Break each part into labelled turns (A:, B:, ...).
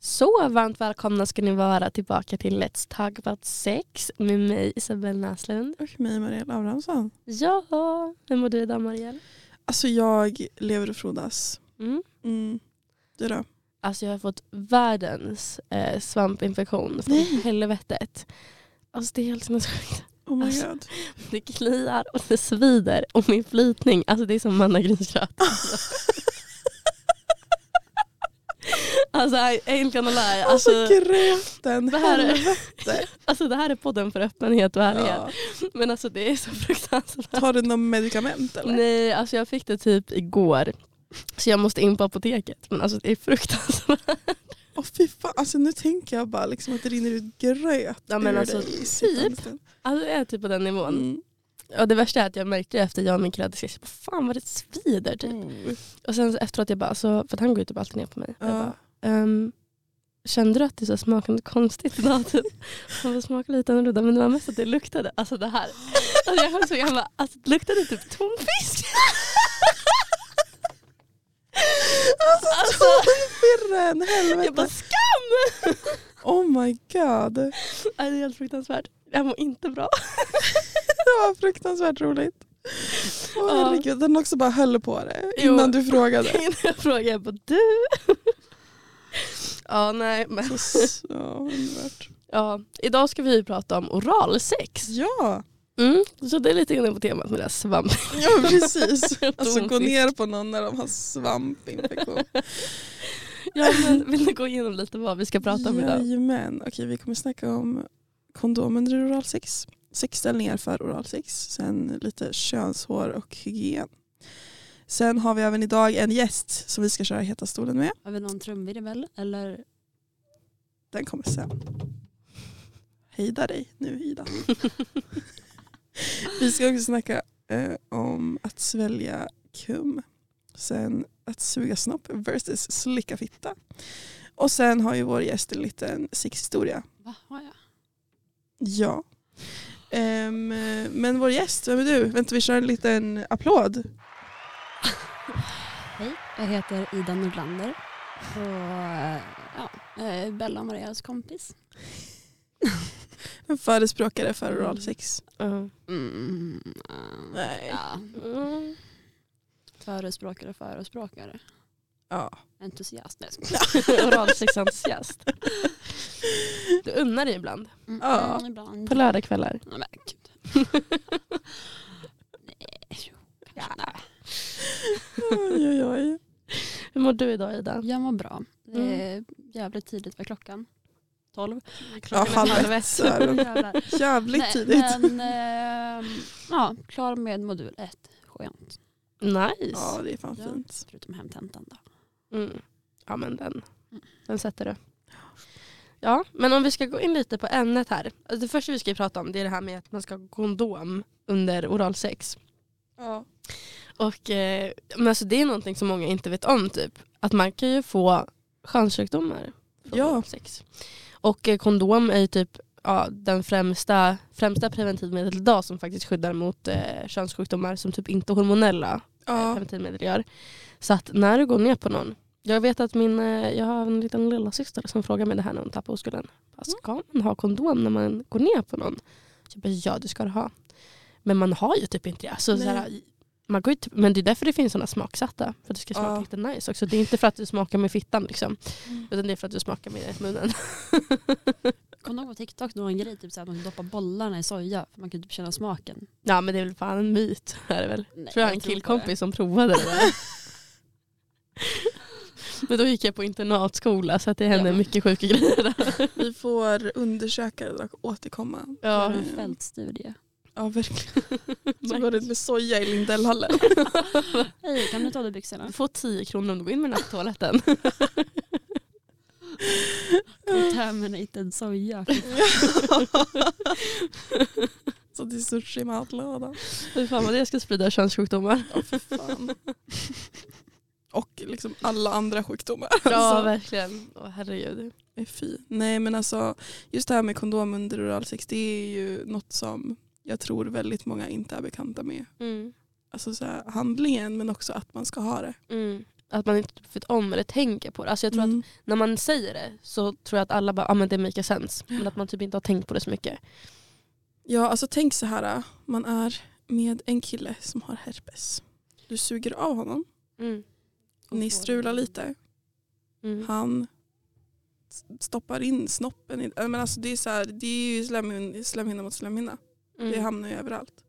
A: Så varmt välkomna ska ni vara tillbaka till Let's Talk About Sex med mig Isabelle Näslund.
B: Och mig Marielle Abrahamsson.
A: Ja, hur mår du idag Marielle?
B: Alltså jag lever och frodas.
A: Mm.
B: Mm. Du då?
A: Alltså jag har fått världens eh, svampinfektion från
B: Nej.
A: helvetet. Alltså det är helt sinnessjukt.
B: Oh my
A: Alltså-
B: god.
A: Det kliar och det svider och min flytning, alltså det är som mannagrynkött. Alltså I ain't gonna lie.
B: Alltså,
A: Alltså,
B: gräten.
A: det här är-
B: helvete.
A: alltså det här är podden för öppenhet och ärlighet.
B: Ja.
A: Men alltså det är så fruktansvärt.
B: Tar du någon medicament eller?
A: Nej, alltså jag fick det typ igår. Så jag måste in på apoteket. Men alltså det är fruktansvärt.
B: Åh fy fan. Alltså nu tänker jag bara liksom att det rinner ut gröt
A: Ja, men
B: ur
A: alltså,
B: dig. i sittande stund.
A: Alltså jag är typ på den nivån.
B: Mm.
A: Och det värsta är att jag märkte det efter jag och min kille hade sex. Jag bara, Fan vad det svider typ.
B: Mm.
A: Och sen så efteråt jag bara, alltså, för att han går ju typ alltid ner på mig. Jag
B: Ja.
A: bara, ehm, kände du att det så smakade konstigt idag? Typ. Han bara, smakade lite annorlunda. Men det var mest att det luktade. Alltså det här. Alltså jag skäms så jag bara, alltså det luktade typ tom fisk.
B: Alltså,
A: Alltså.
B: tonfirren, helvete.
A: Jag bara skam!
B: Oh my god.
A: Ja, Det är helt fruktansvärt. Jag mår inte bra.
B: Det var fruktansvärt roligt. Åh
A: Ja.
B: herregud, den också bara höll på det
A: Jo.
B: innan du frågade.
A: Innan jag frågar jag bara du. ja, nej men.
B: Så, s- ja, underbart.
A: Ja, idag ska vi ju prata om oralsex.
B: Ja,
A: Mm, så det är lite grann på temat med det här svamp.
B: ja precis. Alltså gå
A: Tonfisk.
B: ner på någon när de har svampinfektion.
A: Ja, men vill ni gå igenom lite vad vi ska prata om idag?
B: Jajamän. Okej, vi kommer snacka om kondom under oralsex, sexställningar för oralsex, sen lite könshår och hygien. Sen har vi även idag en gäst som vi ska köra Heta stolen med.
C: Har vi någon trumvirvel? Eller?
B: Den kommer sen. Hejda dig nu Ida. Vi ska också snacka eh, om att svälja kum. Sen att suga snopp versus slicka fitta. Och sen har ju vår gäst en liten sexhistoria.
C: Vad har jag?
B: Ja. Ehm, men vår gäst, vem är du? Vänta vi kör en liten applåd.
C: Hej, jag heter Ida Nordlander. Och eh, ja, jag är Bella Marias kompis.
B: En förespråkare för oralsex.
A: Ja.
C: Mm, eh,
B: Nej.
C: ja,
A: Mm.
C: förespråkare, förespråkare.
B: Ja.
C: Entusiast. Nej, jag skojar.
A: Oralsexentusiast. Du unnar dig ibland.
C: Mm,
B: Ja.
C: mm, Ibland.
A: På lördagskvällar.
C: Nej, men gud. Nej, jo, kanske. Nej.
B: Oj, oj, oj.
A: Hur mår du idag Ida?
C: Jag mår bra. Det är jävligt tidigt. Vad är klockan? Tolv?
B: Mm. Ja,
A: är
B: halv
A: halv
B: ett.
A: ett.
B: så är det.
C: Jävlar.
B: Jävligt
C: Nej,
B: tidigt.
C: Men, ehm, ja, klar med modul 1. Skönt.
B: Ja
A: Nice.
B: det är fan
C: Ja.
B: fint.
C: Förutom hemtentan då.
A: Mm. Ja men den.
C: Mm.
A: Den sätter du. Ja, men om vi ska gå in lite på ämnet här. Alltså, Det första vi ska prata om det är det här med att man ska ha kondom under oralsex.
B: Ja.
A: Och, eh, men alltså det är någonting som många inte vet om. typ. Att man kan ju få könssjukdomar från
B: Ja.
A: sex. Och eh, kondom är ju typ ja, den främsta, främsta preventivmedlet idag som faktiskt skyddar mot eh, könssjukdomar som typ inte hormonella eh,
B: Ja.
A: preventivmedel gör. Så att när du går ner på någon. Jag vet att min, eh, jag har en liten lillasyster som frågar mig det här när hon tappar oskulden. Bara,
B: Mm.
A: Ska man ha kondom när man går ner på någon? Så jag bara, ja du ska det ha. Men man har ju typ inte det. Så
B: Nej.
A: såhär, man går ju typ, men det är därför det finns sådana smaksatta. För att det ska smaka
B: Ja.
A: lite nice också. Det är inte för att du smakar med fittan liksom.
B: Mm.
A: Utan det är för att du smakar med munnen.
C: Kom du ihåg på TikTok någon grej typ så att man kan doppa bollarna i soja för man kan typ känna smaken?
A: ja men det är väl fan en myt. Är det väl?
C: Nej,
A: tror jag, har en
C: inte på det.
A: killkompis som provade det där. Men då gick jag på internatskola så att det hände
C: Ja.
A: mycket sjuka grejer där.
B: Vi får undersöka det och återkomma.
A: Ja,
C: Det var en fältstudie.
B: Ja verkligen. Så går det med soja i Lindellhallen.
C: Hej, kan du ta av dig byxorna?
A: Du får 10 kronor om du går in med den här på toaletten.
C: Contaminated soja.
B: Så till sushi i matlådan.
A: Fy fan vad det ska sprida könssjukdomar.
B: Ja för fan. Och liksom alla andra sjukdomar.
A: Ja
B: Alltså,
A: verkligen. Åh, herregud.
B: eh, fy. Nej men alltså just det här med kondom under oralsex det är ju något som jag tror väldigt många inte är bekanta med.
A: Mm.
B: Alltså så här, handlingen men också att man ska ha det.
A: Mm. att man inte vet om eller tänker på det. Alltså jag tror att
B: Mm.
A: när man säger det så tror jag att alla bara, ja ah, men det make sense. Men att man typ inte har tänkt på det så mycket.
B: Ja, alltså tänk så här. Man är med en kille som har herpes. Du suger av honom. Ni strular lite.
A: Mm.
B: Han s- stoppar in snoppen. I, Äh, men alltså det är så här, det är ju slemhin, slemhinna mot slemhinna. Det
A: Mm.
B: hamnar ju överallt.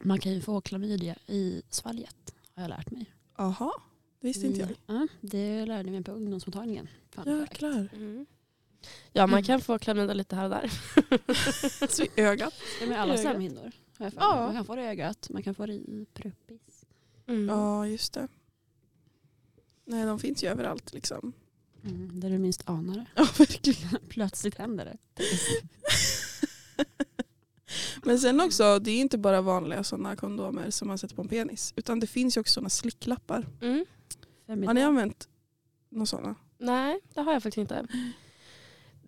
C: Man kan ju få klamydia i svalget har jag lärt mig.
B: Aha, det visste inte jag.
C: Mm. Ja, det lärde jag mig på ungdomsmottagningen. Fan, fact.
B: Jäklar.
A: Mm. Ja man kan få klamydia lite här och där.
B: Alltså i ögat.
C: Ja, men alla
A: Ögat.
C: slemhinnor. har jag för mig.
A: Ja.
C: Man kan få det i ögat, man kan få det i pruppis.
A: Mm.
B: Ja, just det. Nej, de finns ju överallt liksom.
C: Mm, där du minst anar det.
B: Ja, verkligen.
C: Plötsligt händer det.
B: Men sen också, det är inte bara vanliga sådana kondomer som man sätter på en penis. Utan det finns ju också sådana slicklappar.
A: Mm.
C: Fem
B: Har ni använt några sådana?
A: Nej det har jag faktiskt inte.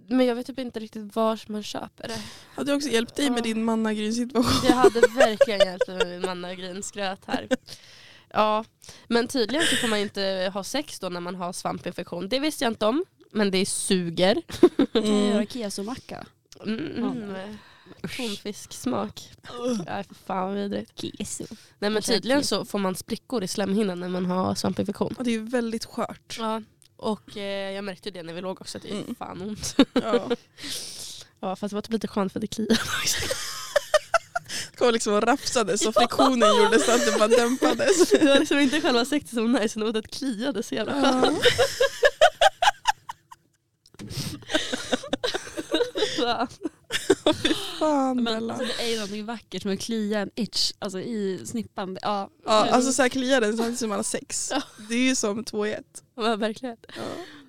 A: Men jag vet typ inte riktigt var man köper det.
B: Hade jag också hjälpt dig med din mannagrynsituation?
A: Jag hade verkligen hjälpt mig med min mannagrynsgröt här. Ja, men tydligen så får man inte ha sex då när man har svampinfektion. Det visste jag inte om, men det suger.
C: Kan jag göra kesomacka?
A: Mm. Tonfisksmak. Ja, fy fan vad vidrigt.
C: Keso.
A: Nej men
C: Kanske
A: tydligen
C: äckligt.
A: så får man sprickor i slemhinnan när man har svampinfektion.
B: Och det är ju väldigt skört.
A: Ja. Och eh, jag märkte ju det när vi låg också, att det är
B: Mm.
A: fan ont.
B: Ja.
A: Ja fast det var typ lite skönt för det kliade också.
B: Det kom liksom och rafsade så friktionen gjorde så att det bara dämpades.
A: Det var liksom inte själva sexet som var nice, utan att det kliade så jävla skönt. Ja.
B: Ja. Fan
C: Men
B: Bella.
C: alltså, det är ju någonting vackert med att klia en itch alltså, i snippan. Ja,
B: Ja, alltså så här kliar den samtidigt som man har sex.
A: Ja.
B: Det är ju som två i ett.
A: Men verkligen.
B: Ja.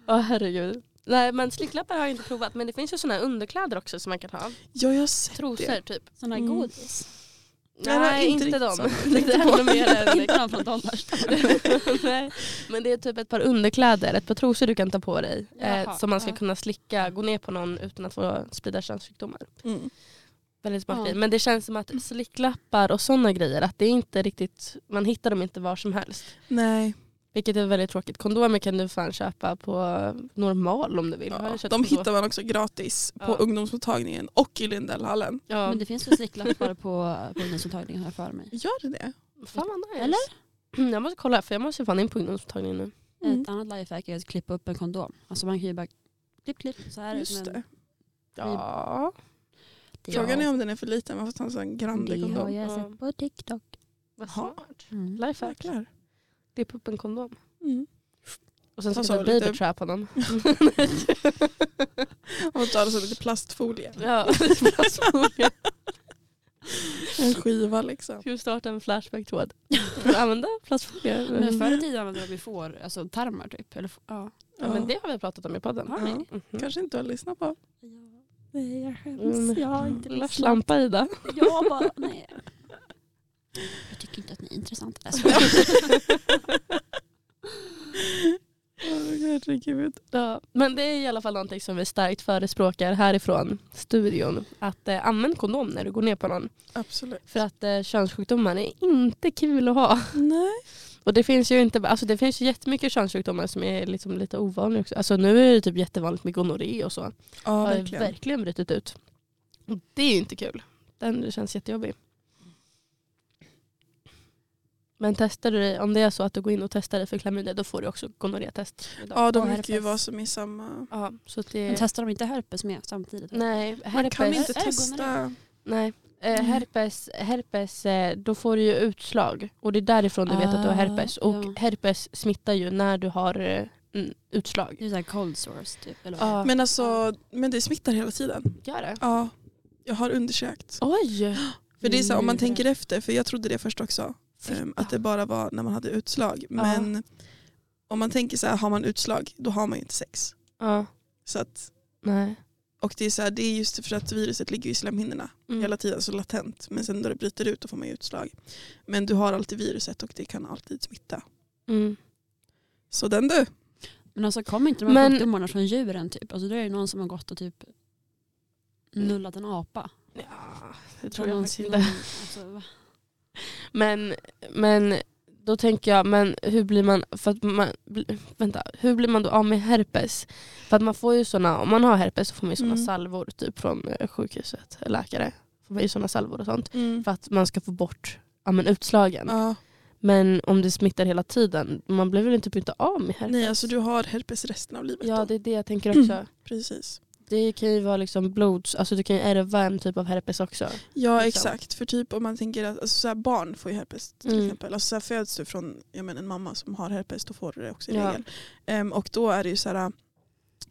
A: Ja herregud. Nej men slicklappar har jag inte provat men det finns ju såna här underkläder också som man kan ha.
B: Ja, jag har sett
A: Trosor
B: det.
A: typ.
C: sådana här
B: Mm.
C: godis.
A: Nej, inte,
B: riktigt
A: de.
B: samma.
A: Det är ännu mer än
C: Inte någon från Dollarstore.
A: Nej, men det är typ ett par underkläder, ett par trosor du kan ta på dig. Eh,
C: Jaha,
A: som man ska
C: ja.
A: kunna slicka, gå ner på någon utan att få sprida könssjukdomar.
B: Mm.
A: Väldigt smart
C: Ja.
A: grej. Men det känns som att slicklappar och sådana grejer, att det är inte riktigt, man hittar dem inte var som helst.
B: Nej,
A: Vilket är väldigt tråkigt. Kondomer kan du fan köpa på normal om du vill. Har
B: ja,
A: du köpt
B: de
A: kondom?
B: hittar man också gratis på
A: Ja.
B: ungdomsmottagningen och i Lindellhallen.
A: Ja.
C: Men det finns ju slicklappar på, på ungdomsmottagningen har jag för mig.
B: Gör det det?
A: Fan vad nice.
C: Eller?
A: Jag måste kolla för jag måste ju fan in på ungdomsmottagningen nu.
B: Mm.
C: Ett annat lifehack är att klippa upp en kondom. Alltså man kan ju bara klipp, klipp så här.
B: Just
C: men
B: det.
A: Ja.
C: det-
B: Frågan är om den är för liten, man får ta en sån grande
C: Det har
B: kondom.
C: jag
A: Ja.
C: sett på TikTok.
A: Vad
B: Jaha.
A: smart.
C: Mm.
A: Lifehack.
B: Jäklar.
A: Det är på en kondom.
B: Mm.
A: Och sen
B: Ta
A: ska
B: så
A: du
B: lite-
A: baby trap honom.
B: Man får ta det som lite plastfolie.
A: ja, plastfolie.
B: En skiva liksom.
A: Ska vi starta en flashback-tråd? Får du Använda plastfolie?
C: Men
B: Mm.
C: förr i tiden använde de får, alltså tarmar typ. Eller, f- ja.
A: Ja, men det har vi pratat om i podden.
C: Har
B: ni?
A: Mhm.
B: kanske inte har lyssnat på.
C: Nej jag skäms,
A: Mm.
C: jag har inte
A: Lilla
C: lyssnat.
A: slampa Ida.
C: Jag bara, nej. Jag tycker inte att ni är intressanta. Jag skojar.
B: Åh, herregud.
A: Ja, men det är i alla fall någonting som vi starkt förespråkar härifrån studion. Att eh, använd kondom när du går ner på någon.
B: Absolut.
A: För att eh, könssjukdomar är inte kul att ha.
B: Nej.
A: Och det finns ju inte, alltså det finns ju jättemycket könssjukdomar som är liksom lite ovanliga också. Alltså nu är det typ jättevanligt med gonorré och så.
B: Ja,
A: har ju
B: verkligen.
A: verkligen brutit ut. Och Det är ju inte kul. Den känns jättejobbig. Men testar du dig, om det är så att du går in och testar dig för klamydia då får du också gonorrétest. idag.
B: Ja,
C: Och
B: de brukar ju
C: herpes.
B: vara som i samma...
A: Ja, så att det...
C: Men testar de inte herpes med samtidigt?
A: Nej,
B: Man
A: herpes.
B: kan inte
C: Herpes.
B: testa...
A: Nej. Eh,
B: Mm.
A: herpes, herpes eh, då får du ju utslag och det är därifrån du vet att du har
C: Ah,
A: herpes. Och
C: ja.
A: herpes smittar ju när du har eh, mm, utslag.
C: Det är såhär cold source typ. Eller vad?
A: Ja,
B: Men alltså, men det smittar hela tiden.
A: gör det?
B: Ja, jag har undersökt.
A: Oj!
B: För det är så här, om man
C: Mm.
B: tänker efter, för jag trodde det först också. ehm, Att det bara var när man hade utslag. Men om man tänker så här, har man utslag, då har man ju inte sex.
A: Ja,
B: Så att,
A: nej.
B: och det är, så här, det är just för att viruset ligger i slemhinnorna
A: Mm.
B: hela tiden, så latent. Men sen när det bryter ut, då får man ju utslag. Men du har alltid viruset och det kan alltid smitta.
A: Mm.
B: Så den du.
C: Men alltså kommer inte de här
A: Men-
C: sjukdomarna från djuren typ? Alltså då är det någon som har gått och typ nullat en apa.
A: Ja, det
C: Från
A: tror jag
C: någon- alltså,
A: faktiskt
C: någon-
A: inte.
C: Alltså, va?
A: Men, men då tänker jag, men hur blir man, för att man bli- vänta, hur blir man då av med herpes? För att man får ju såna, om man har herpes så får man ju såna
B: Mm.
A: salvor typ från eh, sjukhuset, läkare. Får man ju såna salvor och sånt.
B: Mm.
A: För att man ska få bort ja, men utslagen.
B: Ja.
A: Men om det smittar hela tiden, man blir väl typ inte av med herpes?
B: Nej, alltså du har herpes resten av livet.
A: Ja
B: då.
A: det är det jag tänker också.
B: Precis.
A: Det kan ju vara liksom blods, alltså du kan ju ärva en typ av herpes också.
B: Ja,
A: Liksom.
B: exakt. För typ om man tänker att alltså, så här, barn får ju herpes till
A: Mm.
B: exempel. Alltså, så här, föds du från ja, men, en mamma som har herpes då får du det också i
A: Ja.
B: regel. Ehm, och då är det ju så här,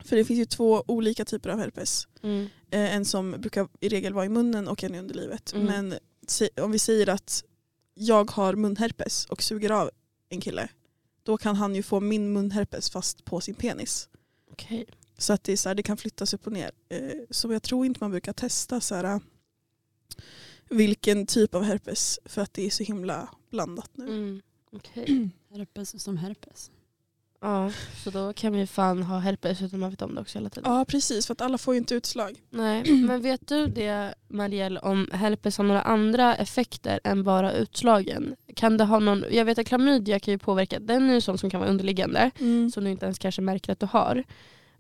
B: för det finns ju två olika typer av herpes. Eh, en som brukar i regel vara i munnen och en i underlivet.
A: Mm.
B: Men se- om vi säger att jag har munherpes och suger av en kille, då kan han ju få min munherpes fast på sin penis.
A: Okej.
B: Så att det, är så här, det kan flyttas upp och ner. Eh, så jag tror inte man brukar testa så här, vilken typ av herpes för att det är så himla blandat nu.
A: Mm. Okej.
C: Herpes som herpes.
A: Ja, så då kan vi fan ha herpes utan man vet om det också hela tiden.
B: Ja precis, för att alla får ju inte utslag.
A: Nej, men vet du det Marielle om herpes har några andra effekter än bara utslagen? Kan det ha någon, jag vet att klamydia kan ju påverka, den är ju sån som kan vara underliggande
B: Mm.
A: som du inte ens kanske märker att du har.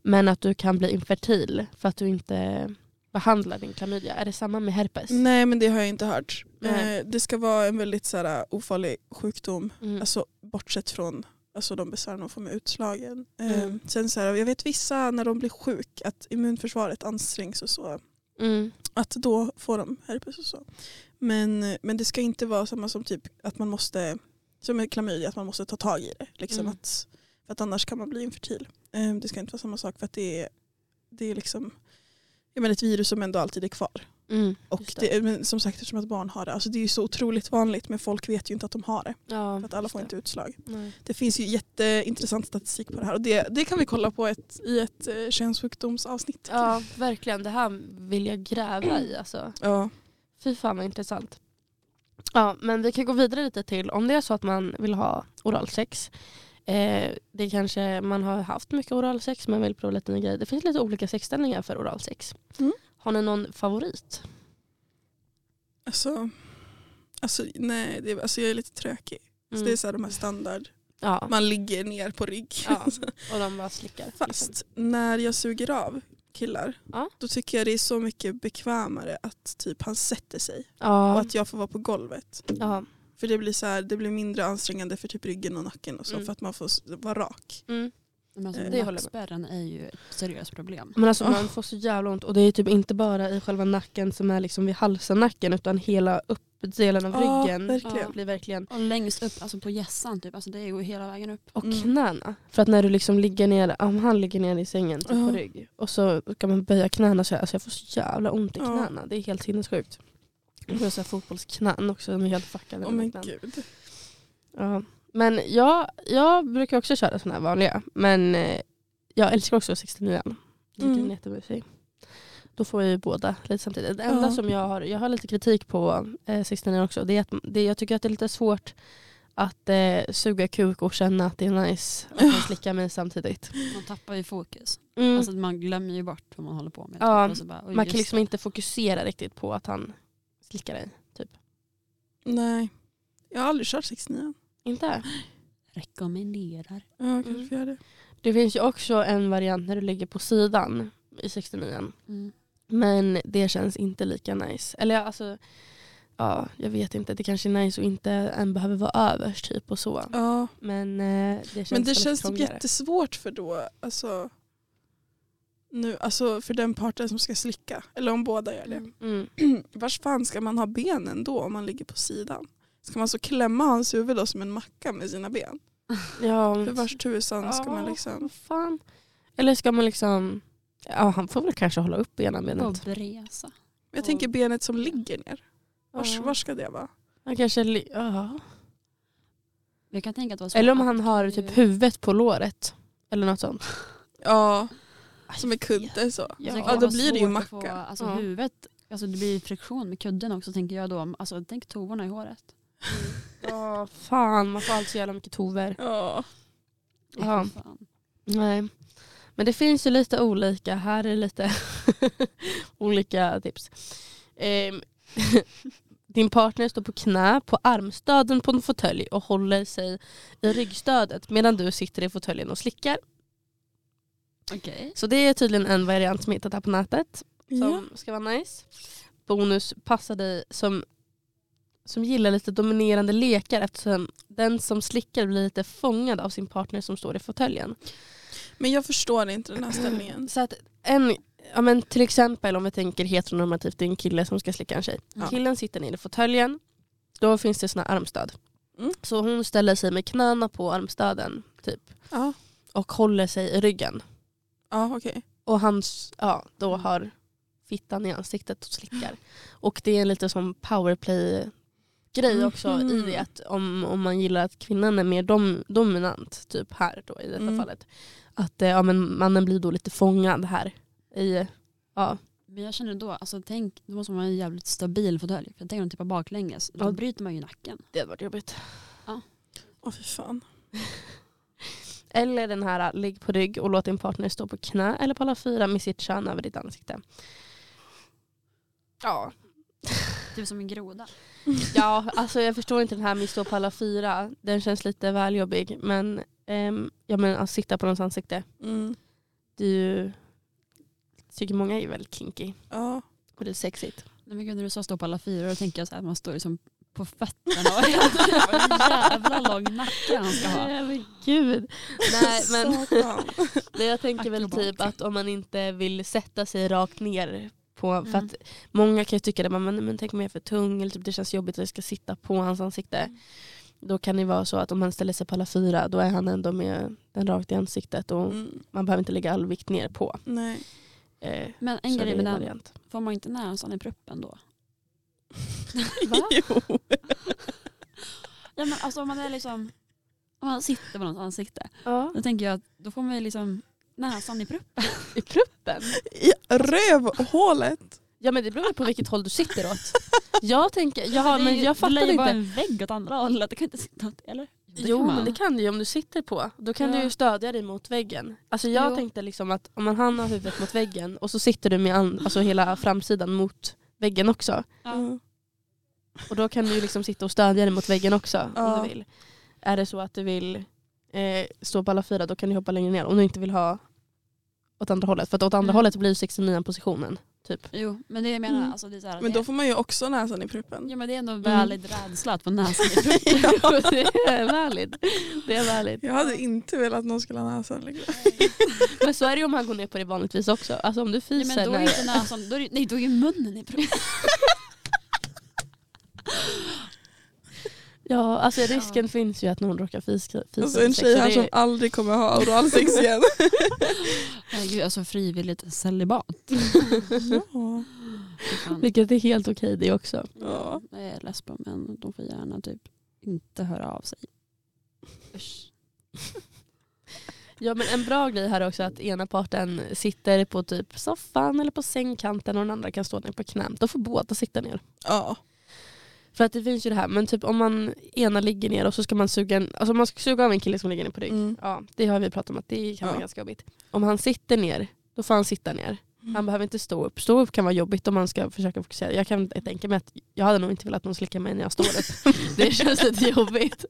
A: Men att du kan bli infertil för att du inte behandlar din klamydia. Är det samma med herpes?
B: Nej men det har jag inte hört.
A: Nej.
B: Eh, det ska vara en väldigt så här, ofarlig sjukdom.
A: Mm.
B: Alltså bortsett från alltså, de besvär de får med utslagen.
A: Mm.
B: Eh, sen så här, jag vet vissa när de blir sjuk att immunförsvaret ansträngs och så.
A: Mm.
B: Att då får de herpes och så. Men, men det ska inte vara samma som typ att man måste, som med klamydia, att man måste ta tag i det. Liksom
A: Mm.
B: att, för att annars kan man bli infertil. Eh, det ska inte vara samma sak för att det är, det är liksom jag menar, ett virus som ändå alltid är kvar.
A: Mm.
B: Och
A: Just det.
B: det. men som sagt eftersom att barn har det, alltså det är ju så otroligt vanligt men folk vet ju inte att de har det.
A: Ja,
B: För att alla
A: Mm, just
B: får
A: det.
B: inte utslag.
A: Nej.
B: Det finns ju jätteintressant statistik på det här och det, det kan vi kolla på ett, i ett eh, könssjukdomsavsnitt.
A: Ja, verkligen. Det här vill jag gräva i. Alltså.
B: Ja.
A: Fy fan vad intressant. Ja, men vi kan gå vidare lite till. Om det är så att man vill ha oralsex. Eh, det kanske man har haft mycket oralsex men vill prova lite nya grejer. Det finns lite olika sexställningar för oralsex.
B: Mm.
A: Har ni någon favorit?
B: Alltså, alltså, nej, det, alltså jag är lite trökig. Så det är så här, de här standard,
A: Mm. Ja.
B: man ligger ner på rygg.
A: ja, och de bara slickar. liksom.
B: Fast när jag suger av killar
A: Ja.
B: då tycker jag det är så mycket bekvämare att typ han sätter sig och
A: Ja,
B: att jag får vara på golvet.
A: ja.
B: För det blir, så här, det blir mindre ansträngande för typ ryggen och nacken och så
A: Mm.
B: för att man får s- vara rak.
A: Mm.
C: Men alltså,
A: det
B: Eh,
A: håller jag med.
C: nackspärren är ju ett seriöst problem.
A: Men alltså man får så jävla ont och det är typ inte bara i själva nacken som är liksom vid halsen nacken utan hela uppdelen av
B: Ja,
A: ryggen
B: verkligen.
A: blir verkligen
C: Och längst upp, alltså på hjässan typ, alltså det går hela vägen upp.
A: Och
B: Mm.
A: knäna. För att när du liksom ligger ner, om han ligger ner i sängen typ
B: Ja.
A: på rygg och så kan man böja knäna så här. Alltså jag får så jävla ont i
B: Ja.
A: knäna. Det är helt sinnessjukt. Och så, så här fotbollsknän också, de är helt fuckade.
B: Åh
A: med
B: men
A: knän.
B: gud.
A: Ja. Men jag, jag brukar också köra sådana här vanliga. Men eh, jag älskar också 69 Jag tycker
B: Mm.
A: den är jättemysig. Då får jag ju båda lite samtidigt. Det enda
B: Ja.
A: som jag har, jag har lite kritik på eh, 69 också. Det är att det, jag tycker att det är lite svårt att eh, suga kuk och känna att det är nice att man slickar mig samtidigt.
C: Man tappar ju fokus.
A: Mm.
C: Alltså man glömmer ju bort vad man håller på med.
A: Ja,
C: och så bara, oj,
A: man kan
C: just
A: liksom
C: det.
A: inte fokusera riktigt på att han slickar dig.
B: Nej. Jag har aldrig kört 69.
A: Inte?
C: Rekommenderar.
B: Ja, kanske
A: Mm.
B: får jag det.
A: Det finns ju också en variant när du ligger på sidan i 69
C: Mm.
A: Men det känns inte lika nice. Eller ja, alltså, ja, jag vet inte. Det kanske är nice och inte en behöver vara överst typ och så.
B: Ja.
A: Men eh, det känns,
B: Men det
A: väldigt
B: känns typ
A: krångligare.
B: jättesvårt för då, alltså, nu, alltså för den parten som ska slicka. Eller om båda gör det.
A: Mm.
B: Vars fan ska man ha benen då om man ligger på sidan? Ska man så klämma hans huvud då som en macka med sina ben?
A: Ja,
B: För vars tusan ska man
A: Mm. Ja,
B: liksom...
A: vad fan. Eller ska man liksom, ja han får väl kanske hålla upp ena
C: Och
A: benet.
C: bresa.
B: Jag tänker benet som ligger ner. Vars,
A: Ja.
B: var ska det vara?
A: Han kanske, li- ja.
C: Jag kan tänka att det var så
A: Eller om
C: att
A: han
C: det
A: har
C: ju-
A: typ huvudet på låret. Eller något sånt.
B: Ja, som en kudde så.
A: Ja.
C: Så kan
A: Ja,
B: då
C: vara
B: blir det ju
C: Alltså, svårt att
B: macka.
C: Få, alltså
A: Ja.
C: huvudet, alltså det blir friktion med kudden också tänker jag då. Alltså tänk tovorna i håret.
A: Ja, fan man får allt så jävla mycket tover.
B: Ja.
A: Ja.
C: Fy fan.
A: Nej. Men det finns ju lite olika. Här är lite olika tips. Ehm, Din partner står på knä på armstöden på en fåtölj och håller sig i ryggstödet medan du sitter i fåtöljen och slickar.
C: Okej.
A: Så det är tydligen en variant som jag hittat här på nätet som
B: Ja.
A: ska vara nice. Bonus passar dig som, som gillar lite dominerande lekar eftersom den som slickar blir lite fångad av sin partner som står i fåtöljen.
B: Men jag förstår inte den här ställningen.
A: Så att en, ja men till exempel om vi tänker heteronormativt, det är en kille som ska slicka en tjej.
B: Ja.
A: Killen sitter nere i fåtöljen, då finns det såna här armstöd.
B: Mm.
A: Så hon ställer sig med knäna på armstöden typ
B: Ja,
A: och håller sig i ryggen.
B: ja okej.
A: Och han s- ja, då har fittan i ansiktet och slickar. Och det är lite som powerplay-grej också i
B: Mhm.
A: det att om, om man gillar att kvinnan är mer dom, dominant, typ här då i detta
B: Mm.
A: fallet. Att eh, ja, men mannen blir då lite fångad här i ja,
C: Men jag känner då, alltså tänk, då måste man ha en jävligt stabil fåtölj. För tänk om man tippar baklänges, då
A: Ja.
C: bryter man ju nacken.
A: det hade varit jobbigt.
B: Åh fy fan.
A: Eller den här eh, ligg på rygg och låt din partner stå på knä eller på alla fyra med sitt kön över ditt ansikte. Ja,
C: Typ som en groda.
A: ja alltså jag förstår inte den här med att stå på alla fyra. Den känns lite väl jobbig. Men, ehm, ja, men att sitta på någons ansikte.
B: Mm.
A: Det är ju, tycker många är väldigt kinky
B: Ja.
A: och det är sexigt.
C: Nej men gud när du sa stå på alla fyra då tänker jag så här, man står liksom på fötterna och Vad jävla lång nacke han ska ha.
A: Nej men gud. Nej, men,
B: Satan.
A: Nej, jag tänker väl
C: Akrobat.
A: typ att om man inte vill sätta sig rakt ner på,
C: Mm.
A: för att många kan ju tycka det, men, men, men tänk om jag är för tung eller typ, det känns jobbigt att jag ska sitta på hans ansikte. Då kan det vara så att om han ställer sig på alla fyra då är han ändå med den rakt i ansiktet och
B: Mm.
A: man behöver inte lägga all vikt ner på.
B: Nej.
A: Eh,
C: Men en
A: så det
C: grej
A: är
C: med den,
A: variant.
C: får man inte näsan i pruppen då?
A: Va?
B: Jo.
C: Ja men alltså om man är liksom, om man sitter på någons ansikte.
A: Ja,
C: Då tänker jag att då får man ju liksom näsan i pruppen.
A: i pruppen.
B: I rövhålet.
A: Ja men det beror ju på vilket håll du sitter åt. Jag tänker, ja,
C: Det är
A: men
C: ju-
A: jag
C: Det
A: fattar
C: ju bara
A: inte.
C: en vägg åt andra hållet, det kan inte sitta åt, eller?
A: Jo men det
C: man.
A: kan du ju om du sitter på. Då kan
C: Ja.
A: du ju stödja dig mot väggen. Alltså jag
C: Jo.
A: tänkte liksom att om man han har huvudet mot väggen och så sitter du med an- alltså hela framsidan mot väggen också. Mm.
C: Ja.
A: Och då kan du ju liksom sitta och stödja dig mot väggen också om
B: Ja.
A: du vill. Är det så att du vill eh, stå på alla fyra då kan du hoppa längre ner om du inte vill ha åt andra hållet. För att åt andra
C: Mm.
A: hållet blir 69 positionen. Typ.
C: Jo men det jag menar,
B: Mm.
C: alltså det är så här,
B: Men
C: det,
B: då får man ju också näsan i pruppen.
C: ja, men det är ändå en väldigt rädsla att få näsan i pruppen.
A: det är valid. Det är valid.
B: Jag hade inte velat att någon skulle ha näsan. Liksom.
A: Men så är det ju om han går ner på det vanligtvis också. Alltså om du
C: Ja,
A: fiser
C: men då är
A: när-
C: ju inte näsan, då är, det- nej då är ju munnen i pruppen.
A: Ja, alltså risken finns ju att någon råkar fiska. fiska
B: Alltså en
A: sex,
B: tjej
A: så
B: här
A: det-
B: som aldrig kommer ha oralsex igen.
C: Herregud alltså frivilligt celibat.
B: ja.
C: Fy fan.
A: Vilket är helt okej det också.
B: Ja.
C: Jag är less på män, de får gärna typ inte höra av sig. Usch.
A: Ja men en bra grej här är också att ena parten sitter på typ soffan eller på sängkanten och den andra kan stå ner på knä. Då får båda sitta ner.
B: ja.
A: För att det finns ju det här, men typ om man ena ligger ner och så ska man suga en, alltså man ska suga av en kille som ligger ner på rygg.
B: Mm.
A: Ja, det har vi pratat om att det kan vara
B: Ja.
A: ganska jobbigt. Om han sitter ner, då får han sitta ner.
B: Mm.
A: Han behöver inte stå upp. Stå upp kan vara jobbigt om man ska försöka fokusera. Jag kan tänka mig att jag hade nog inte velat att någon slickar mig när jag står upp. Det känns lite jobbigt.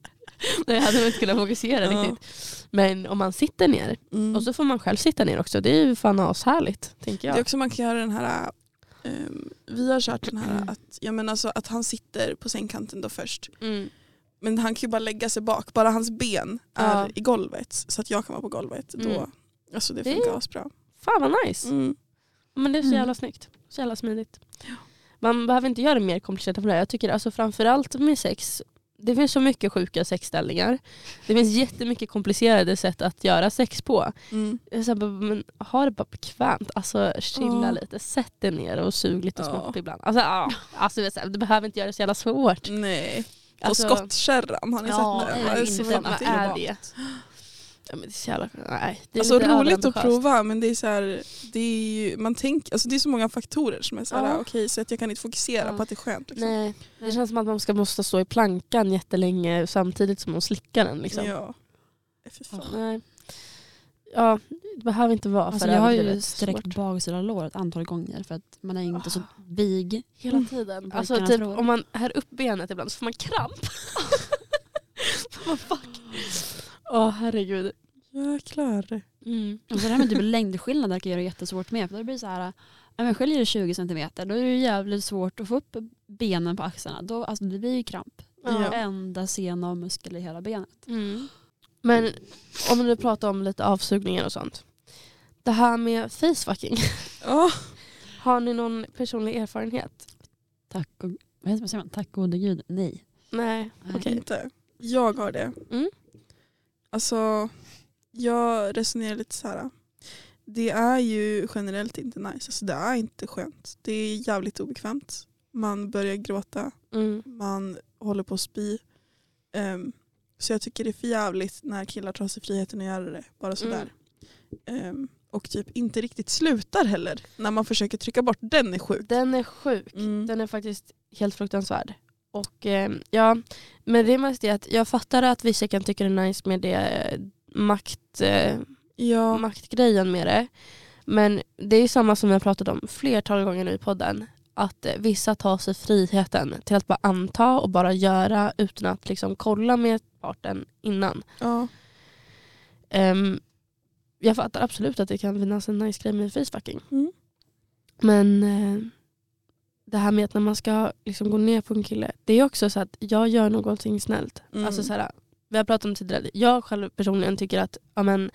A: Nej, Jag hade nog inte kunnat fokusera
B: Ja.
A: riktigt. Men om man sitter ner,
B: Mm.
A: och så får man själv sitta ner också. Det är ju fan ashärligt, tänker
B: Det är
A: jag.
B: också man kan göra den här, ehm, vi har kört den här att, jag menar så att han sitter på sängkanten då först.
A: Mm.
B: Men han kan ju bara lägga sig bak, bara hans ben är
A: Ja.
B: i golvet så att jag kan vara på golvet. Då,
A: Mm.
B: alltså det
A: Det-
B: funkar asbra.
A: Fan vad nice.
B: Mm.
A: Men det är så
C: Mm.
A: jävla snyggt. Så jävla smidigt. Man behöver inte göra det mer komplicerat än vad det är. Jag tycker alltså framförallt med sex, det finns så mycket sjuka sexställningar. Det finns jättemycket komplicerade sätt att göra sex på.
B: Mm.
A: Jag säger bara, men ha det bara bekvämt. Alltså chilla
B: Ja.
A: lite, sätt dig ner och sug lite
B: Ja.
A: smått ibland. Alltså, ja. alltså, det är så här, du behöver inte göra det så jävla svårt.
B: Mm. Nej. På
A: Alltså-
B: skottkärran, har ni
A: Ja,
B: sett
A: nej,
B: den?
A: det är
B: Det är
A: inte
B: så
A: vad
B: fan
A: man
B: till.
A: är. det? Ja, men det är så jävla, nej, det är
B: Alltså
A: lite
B: roligt att
A: överambitiöst.
B: prova men det är så här, det är ju, man tänker, alltså det är så många faktorer som är så här,
A: Ja.
B: okej så att jag kan inte fokusera
C: Ja.
B: på att det är skönt. Liksom.
A: Nej, det känns som att man ska måste stå i plankan liksom. jättelänge samtidigt som hon slickar den. Liksom.
B: Ja. Eh, Fy fan.
A: Nej. ja, det behöver inte vara
C: Alltså,
A: för
C: jag har ju
A: överdrivet
C: sträckt
A: svårt.
C: baksidan av låret ett antal gånger för att man är inte så
A: Ah.
C: vig.
A: Hela tiden.
C: Mm.
A: Alltså
C: Vilken
A: typ
C: tror.
A: om man här upp benet ibland så får man kramp. Vad fuck. Åh herregud.
B: Jäklar.
A: Mm.
C: Och så det här med typ längdskillnad verkar göra det jättesvårt med. För då blir det så här, ja, men skiljer det 20 centimeter då är det jävligt svårt att få upp benen på axlarna. Då, alltså, det blir ju kramp.
A: Ja.
C: Enda sen av muskel i hela benet.
A: Mm. Men om vi nu pratar om lite avsugningar och sånt. Det här med facefucking.
B: Ja,
A: Har ni någon personlig erfarenhet?
C: Tack och, vad heter- vad säger man? Tack gode gud, nej.
A: Nej.
C: Nej.
A: Okej.
B: inte. Jag har det.
A: Mm.
B: Alltså, jag resonerar lite så här. Det är ju generellt inte nice. Alltså, det är inte skönt. Det är jävligt obekvämt. Man börjar gråta.
A: Mm.
B: Man håller på att spy. Ehm, så jag tycker det är för jävligt när killar tar sig friheten att göra det. Bara
A: Mm.
B: sådär. Ehm, och typ inte riktigt slutar heller. När man försöker trycka bort den är sjuk.
A: Den är sjuk.
B: Mm.
A: Den är faktiskt helt fruktansvärd. Och eh, ja, men det är mest det att jag fattar att vissa kan tycka det är nice med det eh, makt... Eh,
B: Ja.
A: maktgrejen med det. Men det är samma som vi har pratat om flertal gånger nu i podden. Att eh, vissa tar sig friheten till att bara anta och bara göra utan att liksom kolla med parten innan.
B: ja.
A: Ehm, jag fattar absolut att det kan finnas en nice grej med facefucking.
B: Mm.
A: Men eh, det här med att när man ska liksom gå ner på en kille. Det är också så att jag gör någonting snällt.
B: Mm.
A: Alltså så här, vi har pratat om tidigare, jag själv personligen tycker att ja, men,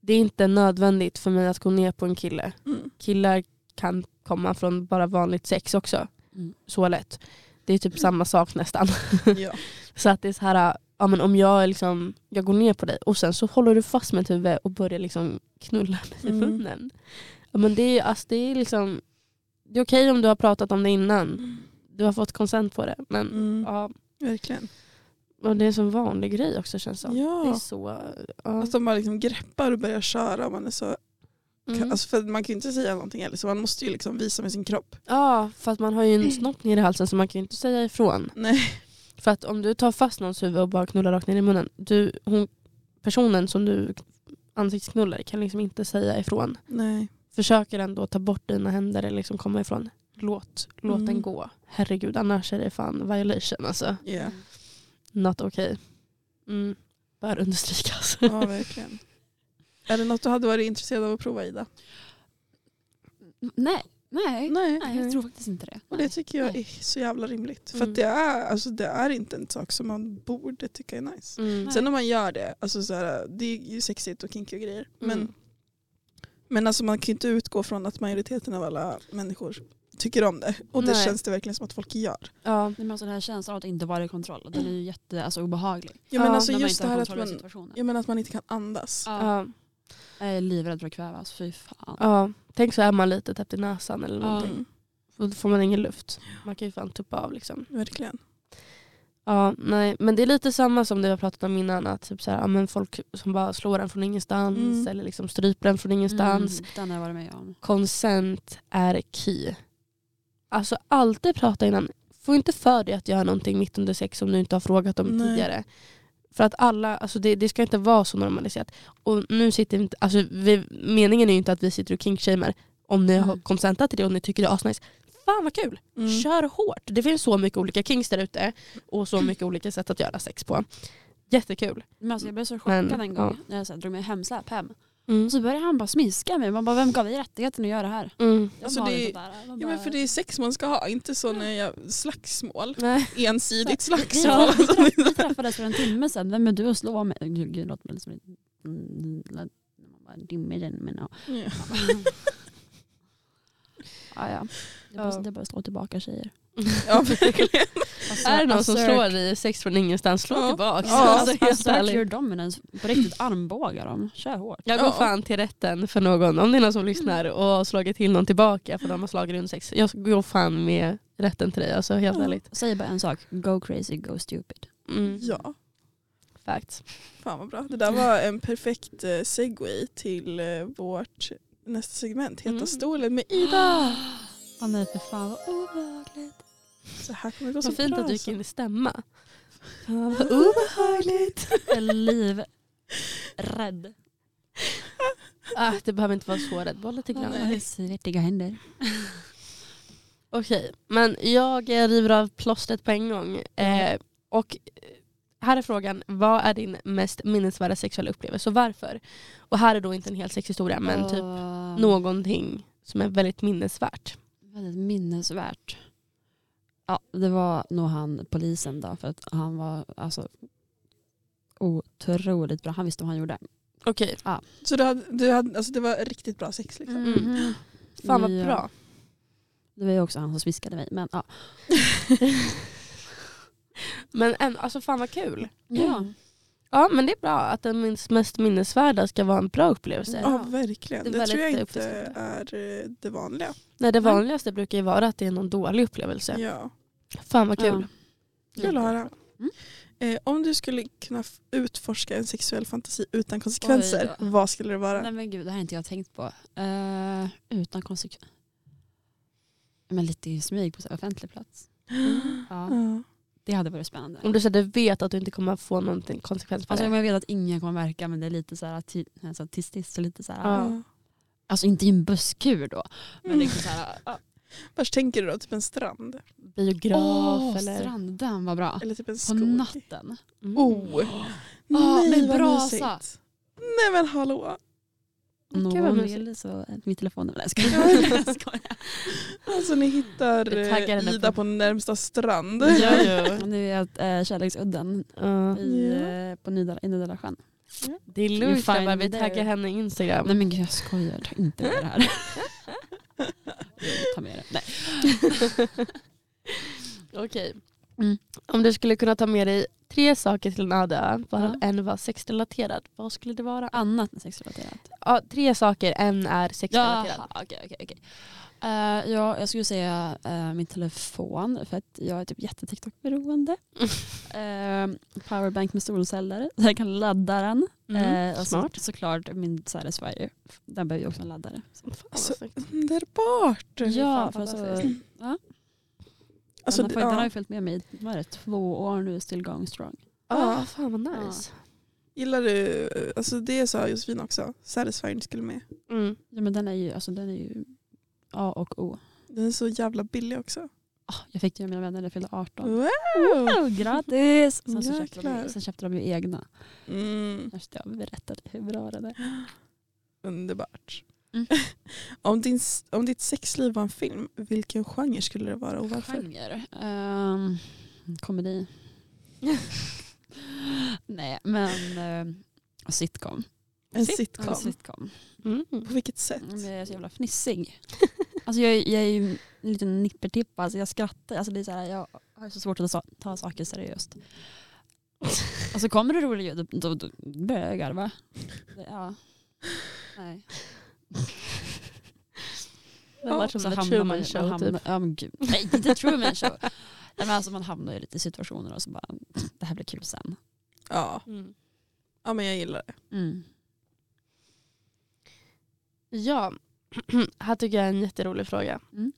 A: det är inte nödvändigt för mig att gå ner på en kille.
B: Mm.
A: Killar kan komma från bara vanligt sex också.
C: Mm.
A: Så lätt. Det är typ samma sak nästan.
B: Ja.
A: Så att det är så här, ja, men om jag, är liksom, jag går ner på dig och sen så håller du fast mitt huvud och börjar liksom knulla mig i
B: Mm.
A: munnen. Ja, men det, är, alltså, det, är liksom, det är okej om du har pratat om det innan. Du har fått konsent på det. Men
B: Mm.
A: ja,
B: Verkligen.
A: och det är en sån vanlig grej också känns det som. Det är
B: Ja.
A: så... Ja.
B: Att de bara liksom greppar och börjar köra. Man, är så,
A: Mm.
B: alltså för man kan ju inte säga någonting heller så man måste ju liksom visa med sin kropp.
A: ja, för att man har ju en snopp ner i halsen så man kan ju inte säga ifrån.
B: Nej.
A: För att om du tar fast någons huvud och bara knullar rakt ner i munnen. Du, hon, personen som du ansiktsknullar kan liksom inte säga ifrån.
B: Nej.
A: Försöker ändå ta bort dina händer eller liksom komma ifrån. Låt, låt
B: Mm.
A: den gå. Herregud, annars är det fan violation alltså.
B: Ja.
A: Not okay. Mm. alltså. Bör understrykas.
B: ja, verkligen. Är det något du hade varit intresserad av att prova Ida?
C: Nej, nej.
B: Nej.
C: Nej, jag tror faktiskt inte det.
B: Och det
C: Nej.
B: tycker jag
C: Nej.
B: är så jävla rimligt. För
A: Mm.
B: att det är, alltså, det är inte en sak som man borde tycka är nice.
A: Mm.
B: Sen om man gör det, alltså, så här, det är ju sexigt och kinky och grejer.
A: Mm.
B: Men, men alltså, man kan ju inte utgå från att majoriteten av alla människor tycker om det. Och det
A: Nej.
B: känns det verkligen som att folk gör.
A: Ja.
C: Nej, men alltså den här känslan av att inte vara i kontroll, den är ju jätte, alltså, obehaglig.
B: Ja, men
A: Ja,
B: alltså
C: när man
B: just
C: inte
B: det
C: har
B: här att
C: kontroll över
B: man,
C: situationen.
B: jag menar att man inte kan andas.
C: Ja.
A: Ja.
C: Jag är livrädd för att kvävas, fy fan.
A: Ja, tänk så är man lite täppt i näsan eller
C: Ja.
A: någonting. Då
B: Mm,
A: får man ingen luft. Man kan ju fan tuppa av liksom.
B: verkligen.
A: Ja, nej. Men det är lite samma som det vi har pratat om innan. Att typ så här, ja, men folk som bara slår en från ingenstans
B: Mm.
A: eller liksom stryper en från ingenstans.
C: Mm, den har jag varit med om.
A: Consent är key. Alltså alltid prata innan. Få inte för dig att göra någonting mitt under sex som du inte har frågat om
B: Nej.
A: tidigare. För att alla, alltså det, det ska inte vara så normaliserat. Och nu sitter vi inte, alltså vi, meningen är ju inte att vi sitter och kinkshamer. Om ni har
C: Mm.
A: konsentat till det och ni tycker det är asnice. Fan vad kul!
B: Mm.
A: Kör hårt! Det finns så mycket olika kinks där ute. Och så mycket olika sätt att göra sex på. Jättekul.
C: Men alltså, jag blev så chockad
A: Men,
C: en gång
A: ja.
C: när jag så här, drog med hemsläp hem.
A: Mm.
C: Och så började han bara smiska mig. Man bara, vem gav dig rättigheten att göra det här?
A: Mm.
C: Jag
B: Alltså,
C: bara,
B: det-
C: lite där. Man
B: Ja,
C: bara,
B: men för det är sex man ska ha, inte sådana jävla slagsmål.
A: Nej.
B: Ensidigt
C: vi,
B: slagsmål.
C: vi, vi träffades för en timme sedan. Vem är du att slå mig? Gud, gud låter mig som lite... mm, lät- man bara, Dimmig den men ja.
B: Ja.
C: ja, ja. Jag
A: Ja.
C: bara, det är bara att slå tillbaka tjejer.
B: ja, verkligen.
C: Alltså,
A: Är det någon som
C: assert-
A: slår dig sex från ingenstans, slå
B: Ja.
A: tillbaka.
B: Ja,
A: Alltså, helt
C: Assert
A: ärligt.
C: your dominance. På riktigt armbåga dem. Kör hårt.
A: Jag går
B: Ja.
A: fan till rätten för någon, om det är någon som lyssnar och har slagit till någon tillbaka för de har slagit runt sex. Jag går fan med rätten till dig, alltså helt
B: Ja.
A: ärligt.
C: Säg bara en sak. Go crazy, go stupid.
A: Mm.
B: Ja,
A: Facts.
B: fan vad bra. Det där var en perfekt eh, segway till eh, vårt nästa segment, Heta
A: Mm.
B: stolen med Ida.
C: Åh nej, för fan vad obehagligt.
B: Så här kommer det gå så
A: Vad fint
B: bra.
A: att du gick
B: alltså.
A: in i stämma. Fan vad obehagligt.
C: Jag är livrädd.
A: Ah, det behöver inte vara så rädd. Bara lite grann.
B: Nej.
C: Svettiga händer.
A: Okej, men jag eh, river av plåstret på en gång. Eh, och eh, här är frågan, vad är din mest minnesvärda sexuella upplevelse och varför? Och här är då inte en hel sexhistoria men
C: Ah.
A: typ
C: Åh,
A: någonting som är väldigt minnesvärt.
C: Väldigt minnesvärt. Ja, det var nog han polisen då för att han var alltså otroligt bra. Han visste vad han gjorde.
A: Okej,
B: Så du hade, du hade, alltså det var riktigt bra sex liksom.
A: Mm. fan vad
C: Ja.
A: bra.
C: Det var ju också han som sviskade mig. Men ja.
A: Men en, alltså fan vad kul.
C: ja.
A: Ja men det är bra att den minst- mest minnesvärda ska vara en bra upplevelse.
B: Ja,
C: Ja.
B: verkligen.
A: Det
B: Det,
A: var
B: tror jag
A: lite
B: inte
A: uppfriskande.
B: är eh, det vanliga.
A: Nej det vanligaste brukar ju vara att det är någon dålig upplevelse.
B: Ja.
A: Fan vad kul.
B: Kul att höra.
C: Mm.
B: Eh, om du skulle kunna f- utforska en sexuell fantasi utan konsekvenser,
C: Oj då.
B: vad skulle det vara?
C: Nej men gud, det här har inte jag tänkt på. Eh, utan konsekvens. Men lite i smyg på så här offentlig plats. Ja,
B: Ja.
C: det hade varit spännande.
A: Om du så här, du vet att du inte kommer få någon konsekvens för
C: Alltså,
A: det.
C: jag vet att ingen kommer märka men det är lite så här ty- alltså, autistiskt. Så lite så här,
A: Ja.
C: Alltså inte i en busskur då. Men
B: Mm.
C: liksom så här, ja.
B: Vars tänker du då? Typ en strand?
A: biograf
C: Åh,
A: eller...
C: stranden var bra.
B: Eller typ en
C: Ah, På
B: skog?
C: natten.
A: Mm.
B: Oh!
C: Ja,
B: Nej
C: med
B: vad
C: brasa.
B: mysigt. Nej men hallå.
A: Gud, vad
C: Någon
A: mysigt.
C: vill så, min telefon är väl... Jag skojar.
B: Alltså ni hittar
A: Vi taggar henne
B: eh, Ida
A: på-
B: på närmsta strand.
A: Ja, ja.
C: Och Nu är jag eh, Kärleksudden
A: Ja.
C: i,
B: Ja.
C: eh, på Nydala, i Nydala sjön.
A: Det är
C: You
A: lugnt
C: find
A: grabbar, vi
C: me
A: taggar
C: there.
A: henne i Instagram.
C: Nej men gud jag skojar, ta inte med det här. Jag tar med det. Nej.
A: Okej.
C: Mm.
A: Om du skulle kunna ta med dig tre saker till en öde ö, varav
C: Ja.
A: en var sexrelaterad, vad skulle det vara?
C: Annat än sexrelaterat. Ah,
A: Ja, tre saker, en är sexrelaterad.
C: okej okej. okej. Eh, ja, jag skulle säga eh, min telefon för att jag är typ jätte TikTok-beroende. Eh, powerbank med solceller så jag kan ladda den.
A: Mm.
C: Eh, och
A: Smart.
C: Så, såklart min Satisfyer, den behöver ju också en laddare. Så.
A: Fan, vad
B: Alltså,
A: snyggt.
B: Underbart!
C: Ja,
A: fan
C: för alltså,
A: fantastiskt.
B: Alltså,
C: den, har,
B: det-
C: följt- den har
B: ja,
C: ju följt med mig i vad är det, två år nu, still going strong.
A: Ja,
C: Ah.
B: Ja.
A: ah, fan vad nice.
B: gillar du, alltså det sa Josefin också, Satisfyern skulle med.
A: Mm.
C: Ja, men den är ju, alltså, den är ju A och O.
B: Den är så jävla billig också.
C: Ah, jag fick den av mina vänner när jag fyllde 18.
B: Wow!
C: Oh, grattis! Mm, Sen, så
B: Jäklar.
C: köpte de, ju- sen köpte de ju egna.
B: Mm,
C: Efter jag berättade hur bra den är.
B: underbart.
C: Mm.
B: om, din, s- om ditt sexliv var en film, vilken genre skulle det vara och varför?
C: Genre. Ehm, komedi. Nej, men ehm, sitcom.
B: En
A: Sit-
C: En
B: sitcom.
C: sitcom.
A: Mm.
B: På vilket sätt?
C: Men Jag är så jävla fnissig. Alltså jag, är- jag är ju en liten nippertippa. Alltså jag skrattar. Alltså det är så här, jag har så svårt att ta, ta saker seriöst. Alltså kommer det roliga ljud, då, då, då börjar jag garva. Det, ja. Nej.
A: Det var som
C: Så
A: The
C: hamnar man
A: Truman
C: ju-
A: Show
C: man hamnar,
A: typ.
C: Ja men gud, nej inte Truman Show. nej, men alltså man hamnar ju lite i situationer och så bara, det här blir kul sen.
B: Ja.
A: Mm.
B: ja, men jag gillar det.
C: Mm.
A: Ja, här tycker jag är en jätterolig fråga.
C: Mm.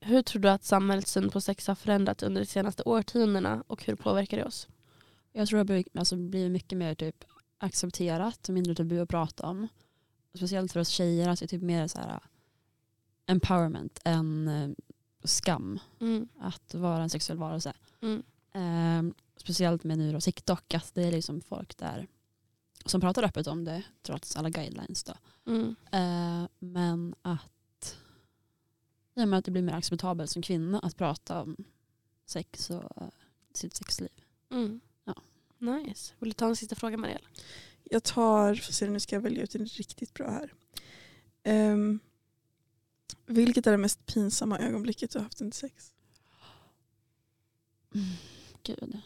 A: Hur tror du att samhällets syn på sex har förändrats under de senaste årtiondena och hur påverkar det oss?
C: Jag tror det blir, alltså, blir mycket mer typ accepterat och mindre tabu att prata om. Speciellt för oss tjejer, att det är typ mer så här empowerment än eh, skam att vara en sexuell varelse.
A: Mm.
C: Ehm, speciellt med nu då TikTok, att det är liksom folk där som pratar öppet om det trots alla guidelines då.
A: Mm.
C: Eh, men att i och med att det blir mer acceptabelt som kvinna att prata om sex och eh, sitt sexliv.
A: Mm.
C: Ja.
A: Nice. Vill du ta en sista fråga Marielle?
B: Jag tar, får se, nu ska jag välja ut en riktigt bra här. Ehm, vilket är det mest pinsamma ögonblicket du har haft under sex?
C: Gud.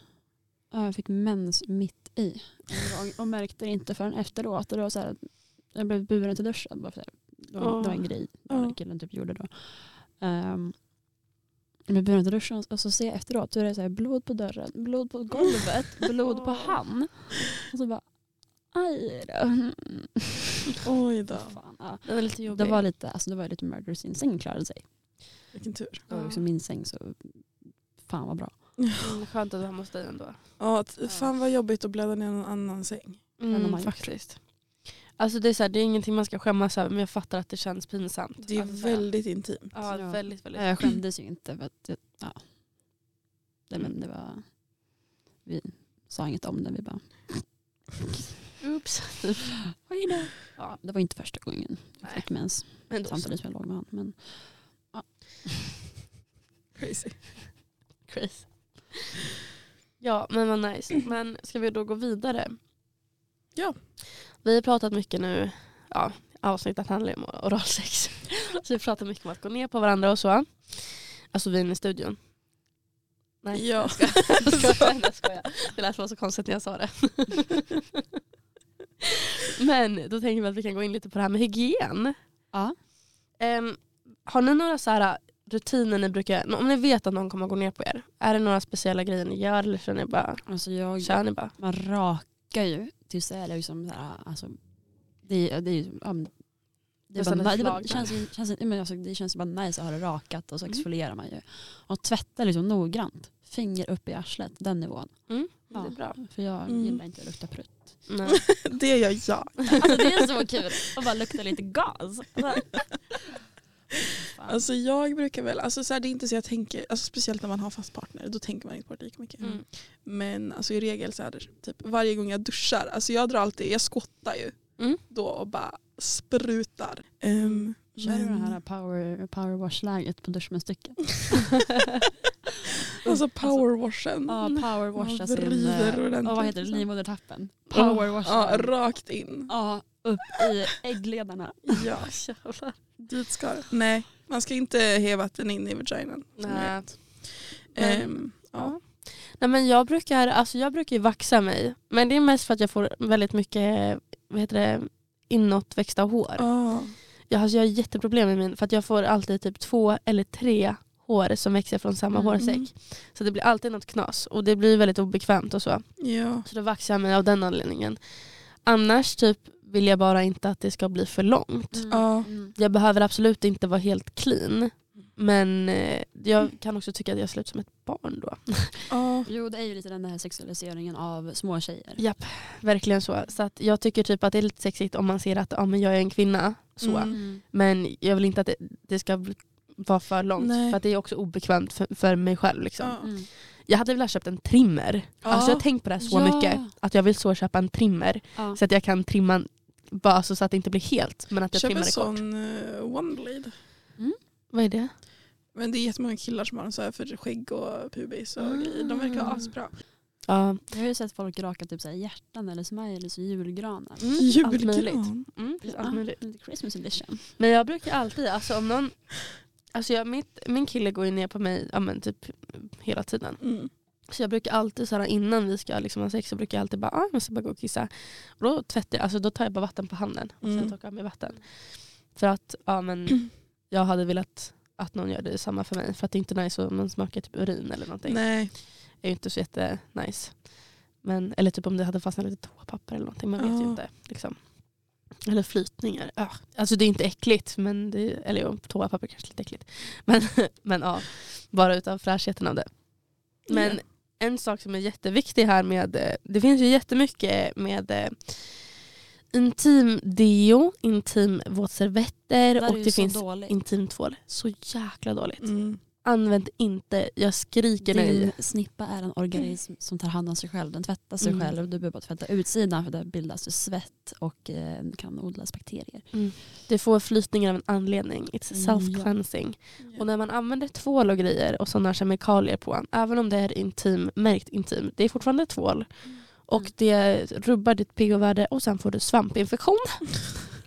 C: Ja, Jag fick mens mitt i en gång och märkte det inte förrän efteråt. Och då så här, jag blev buren till duschen. Bara för det. Det, var, det var en
A: Åh.
C: grej den killen typ gjorde då. Um, jag blev buren till duschen och så ser jag efteråt då är det så här, blod på dörren, blod på golvet, blod på
A: Åh.
C: han. Och så bara aj då.
B: Oj då,
C: Fan, ja.
A: Den är lite jobbig.
C: Det var lite, alltså det var lite murder sin säng klarade sig.
B: vilken tur.
C: Det var också min säng så fan vad bra.
A: Mm, skönt att du har hos dig ändå.
B: Ja, t- fan vad jobbigt att bläddra ner någon annan säng.
C: har
A: Mm,
C: man gjort.
A: faktiskt. Alltså det, är så här, det är ingenting man ska skämmas över men jag fattar att det känns pinsamt.
B: Det är
A: Alltså så här,
B: väldigt intimt.
A: ja,
C: Ja.
A: väldigt, väldigt.
C: Nej, Jag skämdes ju inte för att jag, ja. Det,
A: Mm.
C: men det var, vi sa inget om det. Vi bara,
A: Oops.
C: Oj då. Ja, det var inte första gången jag
A: Nej.
C: fick mens
A: Men då så.
C: samtidigt som jag låg med honom. Men
B: Crazy.
A: Crazy. Ja, men vad nice. Men ska vi då gå vidare?
B: Ja.
A: Vi har pratat mycket nu, ja, avsnittet handlar ju om oralsex. Så vi pratar mycket om att gå ner på varandra och så. Alltså vi inne i studion. Nej,
B: Ja.
A: jag skojar. Jag skojar. Det lät bara så konstigt när jag sa det. Men då tänker vi att vi kan gå in lite på det här med hygien.
C: ja.
A: Ehm, har ni några så här äh, rutiner ni brukar, om ni vet att någon kommer att gå ner på er, är det några speciella grejer ni gör eller kör ni bara,
C: Alltså jag,
A: kör ni bara?
C: man rakar ju tills det är liksom så här, alltså, det, det är ju, ja, men- det, är
A: Nästan
C: bara,
A: ett
C: det, bara,
A: slag.
C: känns, ju- känns, ju- men alltså, det känns ju bara nice att ha det rakat och så exfolierar man ju. Och tvätta liksom noggrant. Finger upp i arslet, den nivån.
A: Ja. Det är bra.
C: För jag
B: Mm.
C: gillar inte att lukta prutt.
A: Nej.
B: Det gör jag.
C: Alltså det är så kul att bara lukta lite gas.
B: Alltså jag brukar väl, alltså så här, det är inte så jag tänker, alltså speciellt när man har fast partner, då tänker man inte på det lika mycket.
A: Mm.
B: Men alltså i regel så är det typ varje gång jag duschar, alltså jag drar alltid, jag skottar ju
A: Mm.
B: då och bara sprutar. Um,
C: Kör du det här power, power wash-läget på duschmunstycket?
B: alltså Mm. powerwashen.
C: Ja, power washa
B: Man
C: sin...
B: vrider
C: eh,
B: ordentligt,
C: Och vad heter det?
B: liksom.
C: Livmodertappen.
A: Ja,
C: Power washa.
B: Ja,
C: den.
B: rakt in.
C: Ja, upp i äggledarna.
B: Ja,
A: Jävlar.
B: dit ska det. Nej, man ska inte heva vatten in i vaginan.
A: Nej.
B: Ehm,
A: Ja.
B: ja.
A: Nej men jag brukar, alltså jag brukar ju vaxa mig. Men det är mest för att jag får väldigt mycket, vad heter det, inåtväxta hår.
B: Ja.
A: Jag, alltså jag har jätteproblem med min, för att jag får alltid typ två eller tre hår som växer från samma
C: Mm.
B: Mm.
A: hårsäck. Så det blir alltid något knas och det blir väldigt obekvämt och så.
B: Mm. ja.
A: Så då vaxar jag mig av den anledningen. Annars typ vill jag bara inte att det ska bli för långt.
C: Mm.
B: Ja.
A: Jag behöver absolut inte vara helt clean. Men eh, jag kan också tycka att jag ser ut som ett barn då.
B: Ja.
C: Jo, det är ju lite den här sexualiseringen av små tjejer.
A: Japp, verkligen så. Så att jag tycker typ att det är lite sexigt om man ser att ja, men jag är en kvinna. Så.
B: Mm.
A: Men jag vill inte att det, det ska bli- vara för långt.
B: Nej.
A: För att det är också obekvämt för, för mig själv. Liksom.
B: Ja.
C: Mm.
A: Jag hade velat köpt en trimmer. Alltså jag har tänkt på det här så
C: Ja.
A: mycket. Att jag vill så köpa en trimmer.
C: Ja.
A: Så att jag kan trimma bara så, så att det inte blir helt. Men att jag
B: Köp
A: trimmar
B: en
A: det kort.
B: sån eh, one blade.
A: Vad är det?
B: Men det är jättemånga killar som har den så här för skägg och pubis och
A: Ah. Mm,
B: grejer. De verkar ha asbra.
A: Ja,
C: Jag har ju sett folk raka typ så här hjärtan eller smileys och julgranar.
A: mm, allt möjligt.
B: Julgran.
A: Mm, precis, allt möjligt.
C: Lite Christmas edition.
A: Men jag brukar alltid, alltså om någon, alltså jag, mitt, min kille går ju ner på mig ja, men typ hela tiden.
B: Mm.
A: Så jag brukar alltid så här, innan vi ska liksom ha sex så brukar jag alltid bara, ah, jag måste bara gå och kissa. Och då tvättar jag, alltså då tar jag bara vatten på handen och sen
B: Mm.
A: torkar jag med vatten. För att ja, men, jag hade velat att någon gör det samma för mig. För att det är inte nice om någon smakar typ urin eller någonting.
B: Nej.
A: Det är ju inte så jätte nice. Men, eller typ om det hade fastnat lite toapapper eller någonting. Man vet ju
B: Ja.
A: inte. Liksom. Eller flytningar. Ah, Alltså det är inte äckligt. Men det, eller jo, toapapper kanske är lite äckligt. Men, men ja, bara utav fräschheten av det. Men
B: Ja.
A: en sak som är jätteviktig här med, eh, det finns ju jättemycket med eh, intim deo, intim våtservetter
C: Där
A: och
C: är ju
A: det
C: så
A: finns
C: dåligt.
A: intimtvål. Så jäkla dåligt.
B: Mm.
A: Använd inte, jag skriker nej.
C: Din snippa är en organism som tar hand om sig själv. Den tvättar sig
A: Mm.
C: själv. Du behöver bara tvätta utsidan för där bildas ju svett och eh, kan odlas bakterier.
A: Det får flytningar av en anledning. It's
C: Mm,
A: self-cleansing. Och när man använder tvål och grejer och sådana kemikalier på, även om det är intim, märkt intim, det är fortfarande tvål. Och
C: Mm.
A: det rubbar ditt pH-värde och sen får du svampinfektion.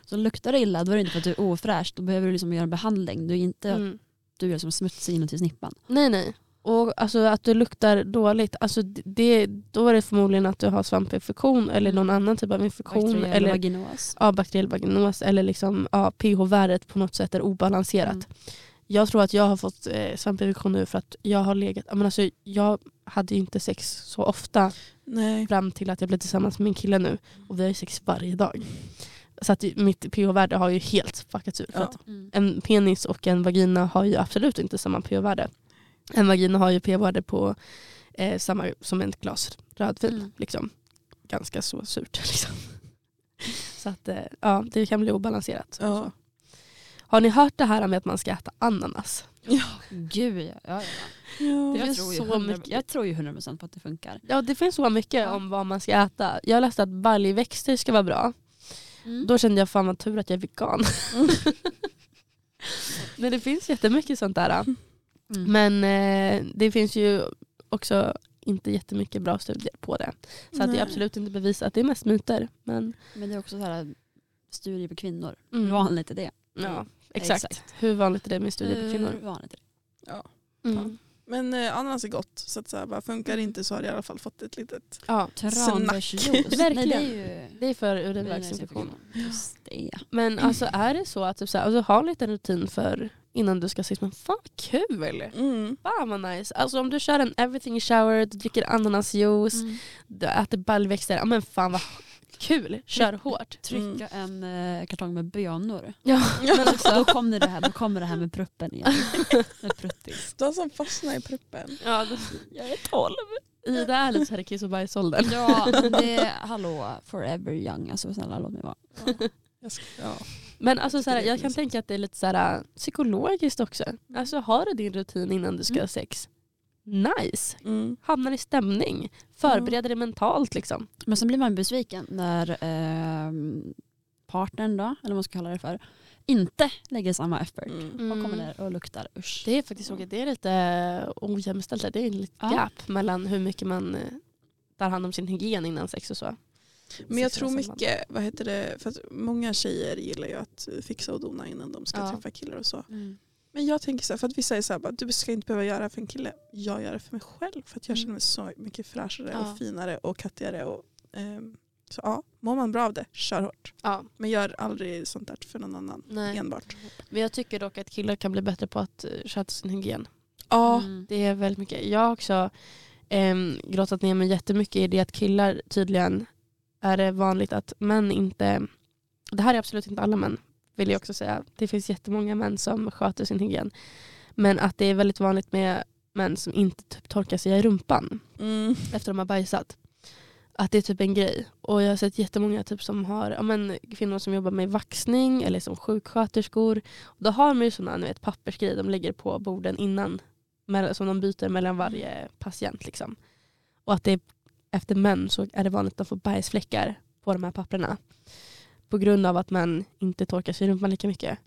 C: Så luktar det illa då är det inte för att du är ofräsch. Då behöver du liksom göra en behandling. Du är inte
A: Mm.
C: du är liksom smutsig inuti snippan.
A: Nej, nej. Och alltså att du luktar dåligt, alltså det, då är det förmodligen att du har svampinfektion eller någon annan typ av infektion.
C: Bakteriell
A: Eller
C: vaginos.
A: ja, bakteriell vaginos eller liksom, ja, pH-värdet på något sätt är obalanserat.
C: Mm.
A: Jag tror att jag har fått eh, svampinfektion nu för att jag har legat... ja, Men alltså, jag hade ju inte sex så ofta
B: Nej.
A: fram till att jag blev tillsammans med min kille nu. Och vi har ju sex varje dag. Så att mitt pH-värde har ju helt fuckats ur. För
B: Ja.
A: att en penis och en vagina har ju absolut inte samma pH-värde. En vagina har ju pH-värde på eh, samma som ett glas rödvin.
C: Mm.
A: Liksom. Ganska så surt. Liksom. Så att, eh, ja, det kan bli obalanserat.
B: Ja.
A: Har ni hört det här med att man ska äta ananas?
C: Gud, ja. ja, ja.
B: Ja.
A: Det
C: Jag,
A: finns
C: tror ju
A: så
C: 100
A: mycket.
C: jag tror ju 100% på att det funkar.
A: Ja, det finns så mycket
C: Ja.
A: om vad man ska äta. Jag läste att baljväxter ska vara bra.
C: Mm.
A: Då kände jag fan vad tur att jag är vegan. Men det finns jättemycket sånt där.
C: Mm.
A: Men eh, det finns ju också inte jättemycket bra studier på det. Så att det
B: Nej.
A: är absolut inte bevisat. Det är mest myter. Men,
C: Men det är också så här studier på kvinnor.
A: mm.
C: Hur Mm. vanligt är det?
A: Ja, exakt.
C: Exakt. Eh,
A: Hur vanligt är det med studier på
C: Hur
A: kvinnor?
C: vanligt är det?
A: Mm.
B: Men eh, ananas är gott. Så att så här, bara, funkar det inte så har jag i alla fall fått ett litet...
A: Ja,
C: Tranbärsjuice. Nej,
A: Verkligen.
C: det är ju
A: det är för urinvägsinfektion.
C: urinvägsinfektion. Just det.
A: Men alltså är det så att typ, så här, alltså, ha en liten rutin för innan du ska ses. Men fan vad kul!
B: Mm.
A: Fan vad nice. Alltså om du kör en everything shower, du dricker ananasjuice,
C: Mm.
A: du äter baljväxter. Ja men fan vad kul. Kör
C: Mm.
A: hårt.
C: Trycka en eh, kartong med bönor.
A: Ja.
C: Men alltså, då, kommer det här, då kommer det här med pruppen igen. Med pruttis.
B: De som fastnar i pruppen.
A: ja då,
C: Jag är tolv.
A: Ida är lite såhär kiss och bajsåldern.
C: Ja, men det är hallå forever young. Alltså snälla låt mig vara.
B: Jag ska, ja.
A: Men alltså, såhär, jag kan tänka att det är lite såhär, psykologiskt också. Alltså har du din rutin innan du ska ha sex, nice.
B: mm.
A: Hamnar i stämning. Förbereder dig mentalt liksom.
C: Men sen blir man besviken när eh, partnern då, eller vad man ska kalla det för, inte lägger samma effort.
B: Mm.
C: Och kommer ner och luktar usch.
A: Det är faktiskt så att det är lite äh, ojämställt. där. Det är ett litet
C: Ja.
A: gap mellan hur mycket man eh, tar hand om sin hygien innan sex och så.
B: Men
A: Sexuella
B: jag tror
A: samband.
B: mycket, vad heter det, för att många tjejer gillar ju att fixa och dona innan de ska
A: Ja.
B: träffa killar och så.
C: Mm.
B: Men jag tänker så här, för att vissa är så här, bara, du ska inte behöva göra det här för en kille. Jag gör det för mig själv för att jag
C: Mm.
B: känner mig så mycket fräschare
A: Ja.
B: och finare och kattigare. Och, ehm, så ja, mår man bra av det, kör hårt.
A: Ja,
B: Men gör aldrig sånt där för någon annan
A: nej. Mm.
B: enbart.
A: Men jag tycker dock att killar kan bli bättre på att eh, sköta sin hygien.
B: Ja,
C: Mm.
A: Det är väldigt mycket. Jag har också um, grottat ner mig jättemycket i det att killar tydligen är det vanligt att män inte, det här är absolut inte alla män vill jag också säga, det finns jättemånga män som sköter sin hygien. Men att det är väldigt vanligt med män som inte typ torkar sig i rumpan
B: mm.
A: efter de har bajsat. Att det är typ en grej. Och jag har sett jättemånga typ som har, ja, men, kvinnor som jobbar med vaxning eller som sjuksköterskor. Då har de ju sådana ni vet, pappersgrejer de lägger på borden innan. mell- Som de byter mellan varje patient. Liksom. Och att det är, efter män så är det vanligt att de får bajsfläckar på de här papperna. På grund av att män inte torkar sig i rumpan lika mycket.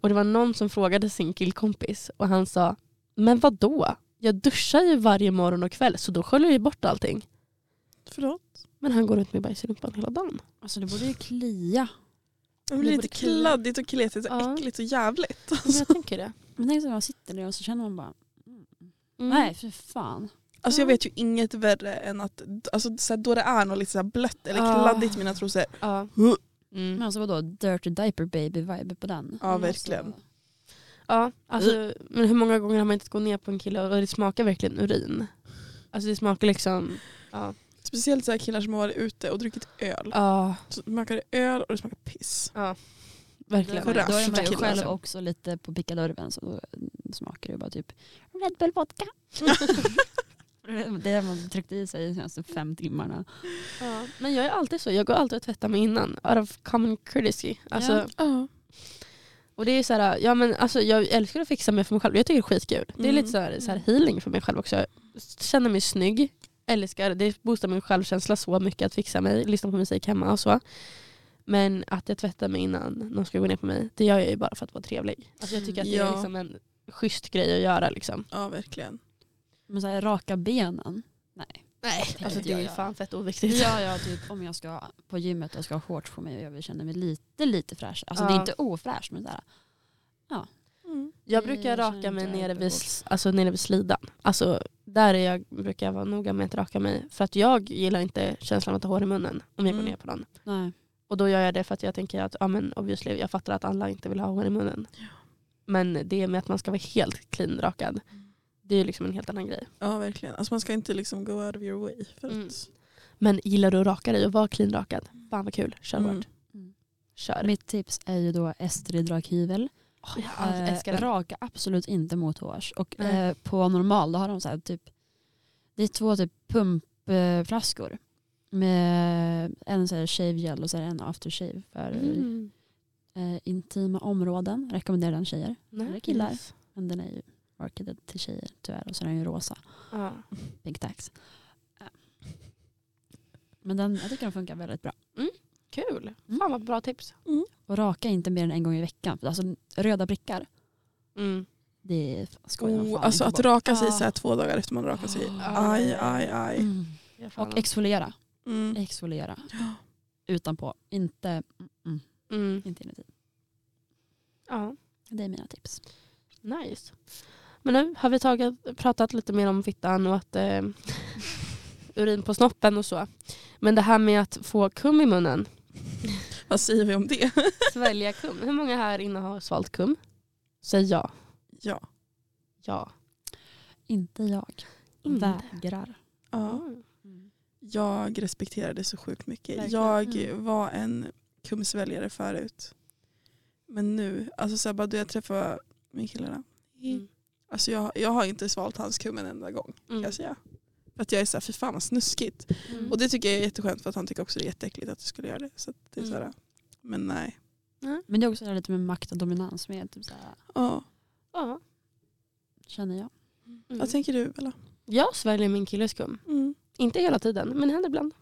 A: Och det var någon som frågade sin killkompis och han sa Men vad då? Jag duschar ju varje morgon och kväll så då sköljer jag ju bort allting.
B: förlåt.
A: Men han går runt med bajs i rumpan hela dagen.
C: Alltså det borde ju klia.
B: Det
A: Det
B: blir lite
A: borde klia.
B: kladdigt och kletigt och
A: Ja.
B: äckligt och jävligt. Alltså,
A: Men jag tänker det.
C: Men tänk så när man sitter ner och så känner man bara,
A: Mm.
C: nej för fan.
B: Alltså jag
A: Ja.
B: vet ju inget värre än att alltså, så här, då det är något lite så här blött eller
A: Ah.
B: kladdigt i mina trosor.
A: Ja. Mm.
C: Men alltså vadå, dirty diaper baby vibe på den. Alltså,
B: Ja
A: Mm,
B: verkligen.
A: ja alltså, men hur många gånger har man inte gått ner på en kille och det smakar verkligen urin? Alltså det smakar liksom... Ja.
B: Speciellt så här killar som har varit ute och druckit öl.
A: Ja,
B: Så smakar det öl och det smakar piss.
A: verkligen.
C: Då är man- då är man ju
B: Killar,
C: själv
B: alltså.
C: också lite på pickadörven så då smakar det bara typ Red Bull vodka. det är det man tryckte i sig de senaste fem timmarna.
A: Ja. Men jag är alltid så. Jag går alltid och tvättar mig innan. Out of common courtesy. Alltså,
C: Ja.
A: Och det är så här, ja, men alltså, jag älskar att fixa mig för mig själv. Jag tycker det är skitkul. Det är
B: Mm.
A: lite så här, så här healing för mig själv också. Känna mig snygg. Älskar, det boostar min självkänsla så mycket att fixa mig. Lyssna på musik hemma och så. Men att jag tvättar mig innan någon ska gå ner på mig, det gör jag ju bara för att vara trevlig. Alltså, jag tycker att det är
B: Ja.
A: liksom en schysst grej att göra. Liksom.
B: Ja verkligen.
C: Men så här, raka benen.
A: Nej, alltså, det är ju
C: Ja, ja.
A: fan fett oviktigt.
C: Ja, ja, typ om jag ska på gymmet och ska ha shorts på mig och jag vill känna mig lite, lite fräsch. Alltså det är
A: Ja.
C: inte ofräscht men såhär.
B: Mm.
A: Jag
C: Det
A: brukar
C: känner
A: raka mig
C: inte jag
A: nere vid,
C: jättebra.
A: alltså, nere vid slidan. Alltså, där är jag, brukar jag vara noga med att raka mig. För att jag gillar inte känslan av att ha hår i munnen om jag
B: Mm.
A: går ner på någon.
C: Nej.
A: Och då gör jag det för att jag tänker att ja, men obviously, jag fattar att alla inte vill ha hår i munnen. Men det med att man ska vara helt cleanrakad, det är ju liksom en helt annan grej.
B: Ja verkligen. Alltså man ska inte liksom go out of your way. För
A: Mm.
B: att,
A: Men gillar du att raka dig och vara cleanrakad, fan vad kul, kör
B: Mm.
A: hårt.
C: Mm.
A: Kör.
C: Mitt tips är ju då Estrid rakhyvel.
A: Åh, jag all- älskar
C: eh,
A: den.
C: raka absolut inte mothårs. Och
A: Nej.
C: eh, på normal då har de så här typ, det är två typ pumpflaskor. Med en så här shave gel och så är det en aftershave för
A: Mm.
C: eh, intima områden. Rekommenderar den tjejer.
A: Nej,
C: killar.
A: nice.
C: Men den är ju marketed till tjejer tyvärr och så är den ju rosa.
A: Ja.
C: Big tax. Eh. Men den, jag tycker den funkar väldigt bra.
A: Kul. Fan vad bra tips.
C: Och raka inte mer än en gång i veckan. För Alltså röda prickar,
A: Mm.
C: det är- ska jag
B: Oh,
C: fan
B: alltså
C: inte
B: att
C: bort.
B: raka sig
A: Ja.
B: så här två dagar efter man rakat sig.
A: Ja,
B: Aj,
A: det är-
B: aj, aj.
C: Mm.
A: Jag fan-
C: Och exfoliera.
B: Mm.
C: Exfoliera.
B: Ja.
C: Utanpå. Inte, mm,
A: Mm.
C: inte inuti.
A: Ja,
C: Det är mina tips.
A: nice. Men nu har vi tagit, pratat lite mer om fittan och att eh, urin på snoppen och så. Men det här med att få kum i munnen.
B: Vad säger vi om det?
A: Svälja kum. Hur många här inne har svalt kum? Säg ja.
B: ja.
A: Ja.
C: Inte jag.
A: Inte.
C: Vägrar.
B: ja.
A: Mm.
C: Mm.
B: Jag respekterar det så sjukt mycket.
C: Verkligen.
B: Jag
C: Mm.
B: var en kumsväljare förut. Men nu, alltså så här, bara då jag träffade min kille där.
A: Mm.
B: Alltså jag, jag har inte svalt hans kum en enda gång kan
A: Mm.
B: jag säga. För att jag är såhär, fy fan vad snuskigt.
A: Mm.
B: Och det tycker jag är jätteskönt för att han tycker också det är jätteäckligt att du skulle göra det. Så att det är så här,
A: Mm.
B: men nej.
C: Men det är också det här lite med makt och dominans. Med, typ så här,
B: Ja.
A: Ja.
C: känner jag.
A: Mm.
B: Vad tänker du Bella?
A: Jag sväljer min killes kum.
B: Mm.
A: Inte hela tiden, men det händer ibland.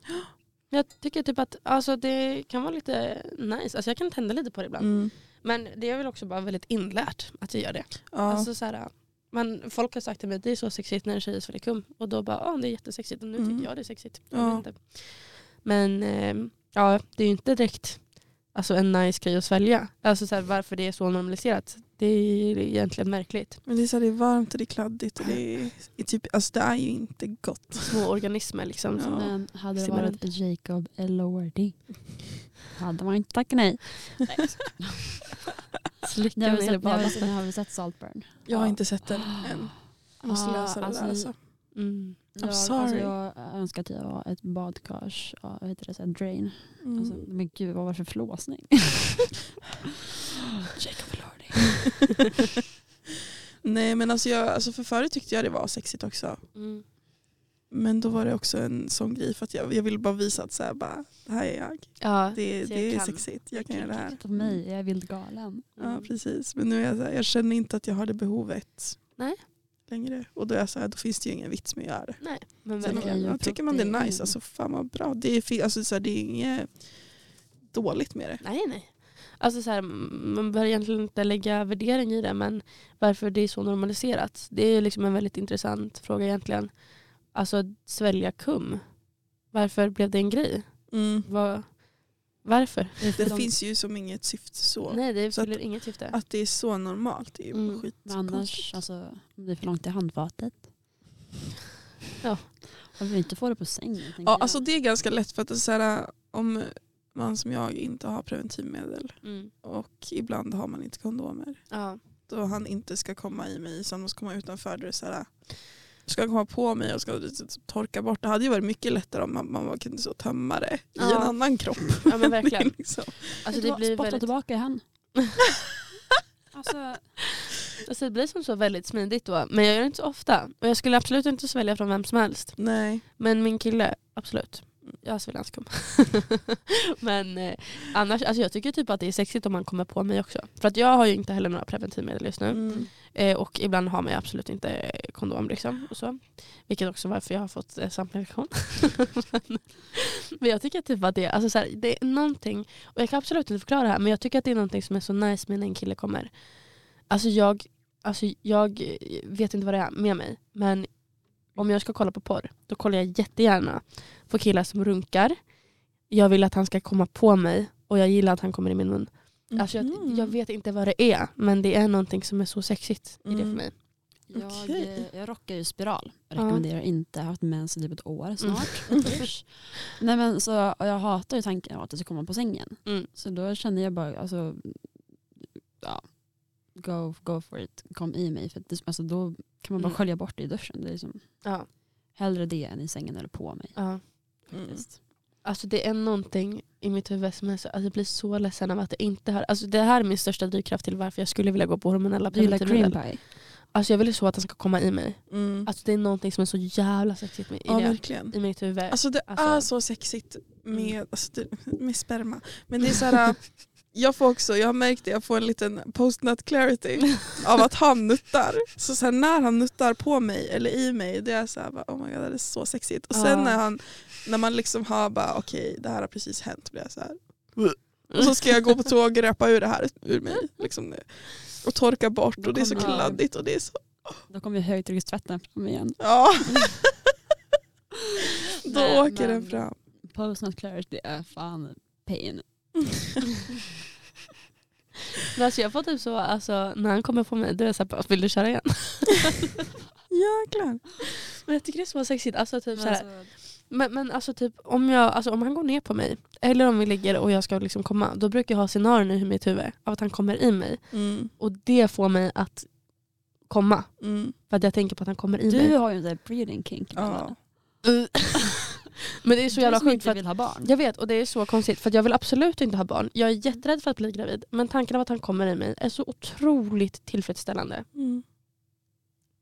A: Jag tycker typ att alltså, det kan vara lite nice. Alltså, jag kan tända lite på det ibland.
B: Mm.
A: Men det är väl också bara väldigt inlärt att jag gör det.
B: Ja.
A: Alltså, så här, men folk har sagt till mig att det är så sexigt när en tjej är sväljer kum. Och då bara, ja det är jättesexigt och nu
B: Mm.
A: tycker jag det är sexigt. Jag
B: Ja.
A: vet inte. Men eh, ja, det är ju inte direkt alltså, en nice grej att svälja. Alltså, så här, varför det är så normaliserat. Det är egentligen märkligt.
B: Men det är, så här, det är varmt och det är kladdigt. Och det, är, det är typ, alltså det är ju inte gott.
A: Små organismer liksom. som-
B: Ja.
C: Men hade det
A: Simmar
C: varit Jacob Elordi hade man inte tackat nej.
A: Slicka
C: Nu har, vi
A: ner
C: sett, nu, har
A: bara.
C: vi, nu har vi sett Saltburn.
B: Jag har
A: Ja.
B: inte sett den än. Jag måste
C: Ah,
B: läsa det
C: alltså,
B: där alltså.
A: Mm.
C: Jag, alltså,
B: sorry.
C: jag önskar att jag var ett badkars, ja, vad heter det, så här, drain.
B: Mm.
C: Alltså, men gud vad var det för flåsning? Jacob Elordi.
B: Nej men alltså, jag, alltså för förut tyckte jag det var sexigt också.
A: Mm.
B: Men då var det också en sån grej för att jag, jag ville bara visa att så här, bara, det här är jag.
A: Ja.
B: Det,
A: Så jag
B: det är
A: kan.
B: sexigt, jag
A: Jag
B: kan
A: kan
B: göra det här.
C: Titta på Typ mig, jag är vildgalen.
A: Mm.
B: Ja precis, men nu är jag, så här, jag känner inte att jag har det behovet
A: Nej.
B: längre. Och då är jag så här, då finns det ju ingen vits med att göra det.
A: Nej, men
B: Sen,
A: verkligen.
C: är ju
B: ja, tycker man det är
C: protein.
B: nice, alltså fan vad bra. Det är, fi- alltså, så här, det är inget dåligt med det.
A: Nej, nej. Alltså så här, m- man bör egentligen inte lägga värdering i det men varför det är så normaliserat. Det är liksom en väldigt intressant fråga egentligen. Alltså svälja kum. Varför blev det en grej? Vad- varför?
B: Det
C: De-
B: finns ju som inget syfte så.
A: Nej det
B: så att-
A: fyller inget syfte.
B: Att det är så normalt det är ju
A: Mm.
B: skit.
C: Men annars, alltså, om det är för långt till handfatet.
A: Ja.
C: Man vill inte få det på sängen. tänker
B: Ja,
C: jag.
B: alltså det är ganska lätt för att det är så här, om man som jag inte har preventivmedel
A: Mm.
B: och ibland har man inte kondomer.
A: Ja.
B: Då han inte ska komma i mig så han måste komma utanför. Då är det så här, ska han komma på mig och ska torka bort. Det hade ju varit mycket lättare om man, man kunde så tömma det i
A: Ja.
B: en annan kropp.
A: ja men
B: Det är
A: verkligen.
B: liksom,
A: Alltså
C: Vet du
A: det
C: vad?
A: blir
C: Spotta
A: väldigt,
C: tillbaka i han. alltså,
A: alltså, det blir som så väldigt smidigt då. Men jag gör det inte så ofta. Och jag skulle absolut inte svälja från vem som helst.
B: nej.
A: Men min kille, absolut. Jag sväljer hans skum. Men eh, annars, alltså jag tycker typ att det är sexigt om man kommer på mig också. För att jag har ju inte heller några preventivmedel just nu.
B: Mm.
A: Eh, och ibland har man ju absolut inte eh, kondom liksom. Och så. Vilket också varför jag har fått eh, samplektion. men, men jag tycker typ att det, är- alltså så här, det är någonting, och jag kan absolut inte förklara det här, men jag tycker att det är någonting som är så nice med när en kille kommer. Alltså jag, alltså jag eh, vet inte vad det är med mig, men om jag ska kolla på porr, då kollar jag jättegärna på killar som runkar. Jag vill att han ska komma på mig och jag gillar att han kommer i min mun. Alltså jag,
B: Mhm.
A: jag vet inte vad det är men det är någonting som är så sexigt i det för
B: Mm.
A: mig.
C: jag, eh,
B: Okej.
C: jag rockar ju spiral. Jag rekommenderar inte. Jag har haft mens i typ ett år snart. Usch. Nej, men, så, och jag hatar ju tanken att det ska komma på sängen.
A: Mm.
C: Så då känner jag bara, alltså, ja, go, go for it. Kom i mig. För att det, alltså, då kan man bara
A: Mm.
C: skölja bort det i duschen. Det är liksom,
A: Ja,
C: hellre det än i sängen eller på mig.
A: ja.
B: Mm.
C: faktiskt.
A: Alltså det är någonting i mitt huvud som är så, alltså jag blir så ledsen av att det inte hör. Alltså det här är min största drivkraft till varför jag skulle vilja gå på hormonella
C: Du gillar cream
A: preventivmedel.
C: pie?
A: Alltså jag vill ju så att den ska komma i mig.
B: Mm.
A: Alltså det är någonting som är så jävla sexigt med, i,
B: Ja,
A: det,
B: verkligen.
A: i mitt huvud.
B: Alltså det
A: Alltså-
B: är så sexigt
C: Mm.
B: med, alltså det, med sperma. Men det är så här, äh, jag får också, jag har märkt det, jag får en liten post-nut clarity av att han nuttar. Så, så här, när han nuttar på mig eller i mig, det är så här, bara, oh my god det är så sexigt. Och sen
A: Ja.
B: när, han, när man liksom har bara okej det här har precis hänt blir jag så här. Och så ska jag gå på toa och gröpa ur det här ur mig. Liksom, och torka bort och det är så
C: Då kommer-
B: kladdigt och det är så
C: Då kommer ju högtryckstvätten fram igen.
B: Ja. Då
C: Nej,
B: åker den
C: men-
B: fram.
C: Post not clarity är fan pain.
A: Men alltså jag får typ så, alltså, när han kommer på mig, då är jag såhär, vill du köra igen?
B: Jäklar.
A: Men jag tycker det är så sexigt. Alltså, typ, så här,
C: Alltså,
A: Men, men alltså typ om, jag, alltså om han går ner på mig eller om vi ligger och jag ska liksom komma då brukar jag ha scenarion i mitt huvud av att han kommer i mig
B: Mm.
A: och det får mig att komma
B: Mm.
A: för att jag tänker på att han kommer i
C: du
A: mig.
C: har ju en sån här breeding kink. Amanda.
B: Ja.
A: men det är så jävla
C: du som
A: sjukt
C: inte
A: för att
C: vill ha barn.
A: jag vet och det är så konstigt för att jag vill absolut inte ha barn. Jag är jätterädd för att bli gravid men tanken av att han kommer i mig är så otroligt tillfredsställande.
B: Mm.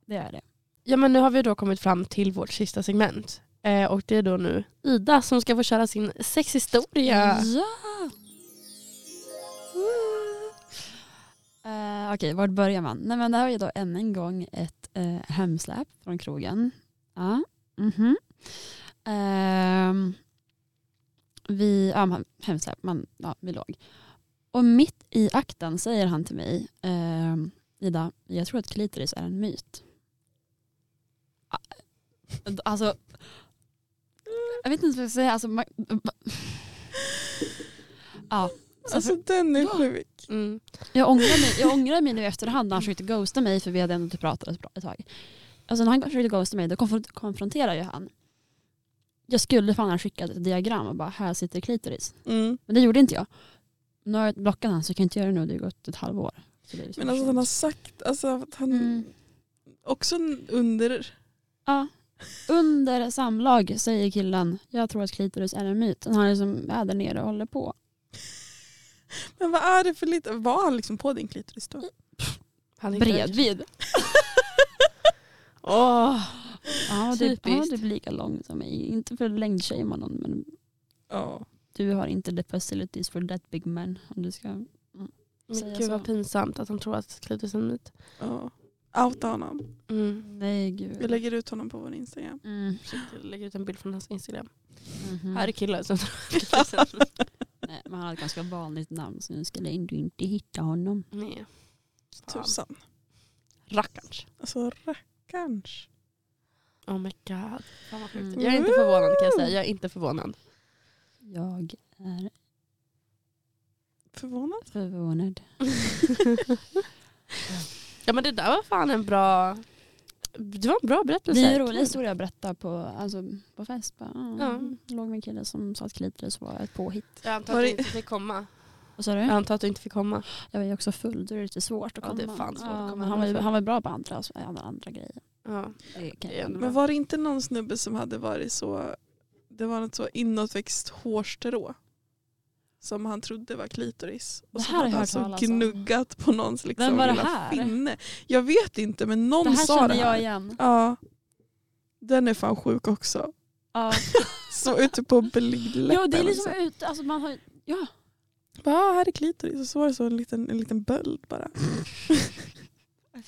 C: Det är det.
A: Ja men nu har vi då kommit fram till vårt sista segment eh, och det är då nu Ida som ska få köra sin sexhistoria.
C: Ja. Eh, Okej, var börjar man? Nej, men det här var ju då än en gång ett uh, hemsläp från krogen. Ja, mhm. Ehm, vi, ja, man- hemsläp, man, ja, vi låg. Och mitt i akten säger han till mig, ehm, Ida, jag tror att klitoris är en myt. Ah, Alltså, jag vet inte vad jag ska säga. Alltså, man, ja, så
B: Alltså den är
C: Ja.
B: sjuk.
A: Mm.
C: jag ångrar mig, jag ångrar mig nu i efterhand när han försökte ghosta mig för vi hade ändå inte pratat ett bra- ett tag. Alltså när han försökte ghosta mig då konfron- konfronterade jag han. Jag skulle fan ha skickat ett diagram och bara här sitter klitoris.
B: Mm.
C: Men det gjorde inte jag. Nu har jag blockat han så jag kan inte göra det nu. Det har gått ett halvår. Så det är liksom
B: Men alltså
C: för
B: han har
C: sent.
B: sagt, alltså att han
C: Mm.
B: också under,
C: Ja. Under samlag säger killen jag tror att klitoris är en myt. Han är liksom är där nere och håller på.
B: men vad är det för lite, var han liksom på din klitoris då?
A: Han är
C: Bredvid.
A: Åh.
C: Ja, du,
A: Typiskt.
C: ja, du blir lika lång som mig. Inte för längdshamear någon men
B: Ja.
C: du har inte the facilities for that big man. Om du ska...
A: Men
C: säga
A: gud
C: så.
A: vad pinsamt att han tror att klitoris är en myt.
B: ja. Outa honom.
A: Mm.
C: Nej
B: Vi
C: gud.
B: lägger ut honom på vår Instagram.
C: Mm.
A: Jag lägger ut en bild från hans Instagram.
C: mhm.
A: Här är killen som tror att klitoris är en myt.
C: Nej, men han hade ett ganska vanligt namn så nu skulle jag ändå inte hitta honom.
A: Nej. Fan.
B: Tusan.
A: Typ Rackarns.
B: Alltså rackarns.
A: Oh my god. Fan vad sjukt.
C: Mm.
A: Jag är inte förvånad kan jag säga. Jag är inte förvånad.
C: Jag är
B: Förvånad.
C: förvånad.
A: ja men det där var fan en bra... Det var en bra berättelse.
C: Det är en rolig historia att berätta på, alltså, på fest. Bara, ah,
A: Ja.
C: Låg med en kille som sa att klitoris var ett påhitt.
A: Jag antar att du inte fick komma.
C: Vad sa du?
A: Jag antar att du inte fick komma.
C: Jag var ju också full, då är det lite svårt att
A: Ja,
C: komma.
A: det är fan svårt att komma
C: men han, var ju,
A: hemifrån.
C: han var ju bra på andra, andra, andra grejer.
A: Ja.
C: Det kan
A: Det är
C: jag
A: ändå
B: Men var det inte någon snubbe som hade varit så, det var något så inåtväxt hårstrå som han trodde var klitoris. Och
C: Det
B: så
C: här har
B: hade
C: jag
B: han
C: hört
B: så
C: talas om.
B: gnuggat på någons liksom,
C: Vem var det
B: lilla
C: här?
B: finne. Jag vet inte men någon
C: Det här
B: sa det
C: kände
B: här.
C: jag igen.
B: Ja. Den är fan sjuk också.
C: Ja.
B: Så ute på blygdläppen.
C: ja, det är
B: så
C: liksom
B: här,
C: ut, alltså man har, ja.
B: Bara, "Ah, här är klitoris och så var det så en liten, en liten böld bara.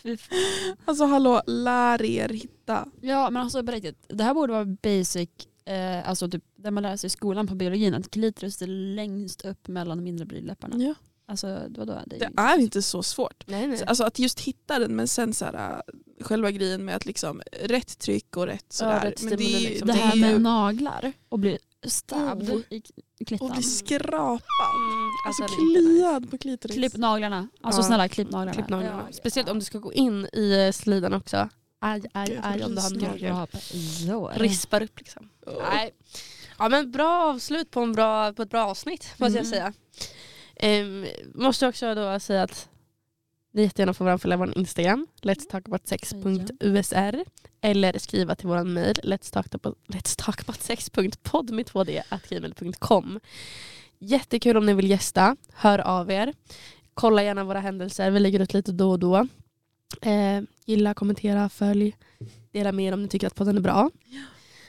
C: Fy fan.
B: Alltså hallå, lär er hitta.
C: Ja men alltså på riktigt, det här borde vara basic, eh, alltså typ det man lär sig i skolan på biologin, att klitoris är längst upp mellan de mindre blygdläpparna.
B: Ja.
C: Alltså vadå? Det
B: Det
C: är,
B: är inte så svårt.
A: Nej nej.
B: Alltså att just hitta den men sen så här, äh, själva grejen med att liksom rätt tryck och rätt sådär.
A: rätt
B: men det, är ju-
A: stimuli liksom.
C: det
B: det
C: här
B: är
C: med
B: ju
C: naglar och bli stabbed
B: Oh.
C: i, i
B: att
C: klittan.
B: bli skrapad.
A: Mm,
B: Alltså,
A: det är inte nice.
B: kliad på klitoris.
C: Klipp naglarna, alltså
A: Ja.
C: snälla klipp naglarna.
A: Klipp naglarna.
C: Ja,
A: Speciellt om du ska gå in i sliden också. Aj, aj,
B: Gud,
A: aj om du har
B: risnaglar.
A: naglar.
C: ja. Så.
A: Rispar upp liksom.
B: Åh.
A: Nej. Ja men bra avslut på, en bra, på ett bra avsnitt måste jag
C: Mm.
A: säga. Ehm, måste också då säga att ni jättegärna får varandra följa vår Instagram, letstalkaboutsex.usr eller skriva till vår mejl letstalkaboutsex.podd med 2d.gmail.com Jättekul om ni vill gästa, hör av er. Kolla gärna våra händelser, vi lägger ut lite då och då. Eh, gilla, kommentera, följ. Dela med er om ni tycker att podden är bra.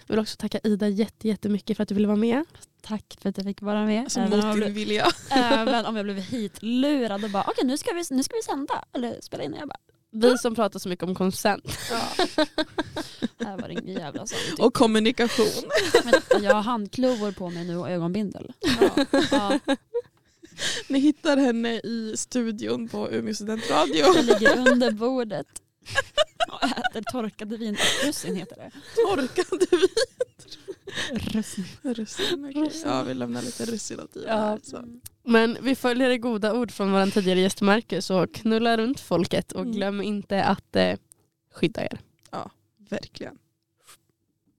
A: Jag vill också tacka Ida jätte- jättemycket för att du ville vara med.
C: Tack för att jag fick vara med.
B: Alltså
C: Även om, jag
B: mot din
C: blev,
B: vilja.
C: även om jag blev hitlurad och bara okej nu, ska vi, nu ska vi sända eller spela in. Och jag bara,
A: Vi som pratar så mycket om konsent.
C: det här var ingen jävla sån.
B: Och kommunikation.
C: Men jag har handklovor på mig nu och ögonbindel. Ja,
B: Ni hittar henne i studion på Umeå studentradio.
C: jag ligger under bordet och äter torkade vin. Russin heter det.
B: Torkade vi.
C: Russin.
B: Russin, okej.
C: Russin.
B: Ja, vi lämnar lite russin åt Ida.
A: Ja.
B: här, så.
C: Mm.
A: Men vi följer det goda ord från vår tidigare gäst Marcus och knulla runt folket och
B: Mm.
A: glöm inte att eh, skydda er.
B: Verkligen.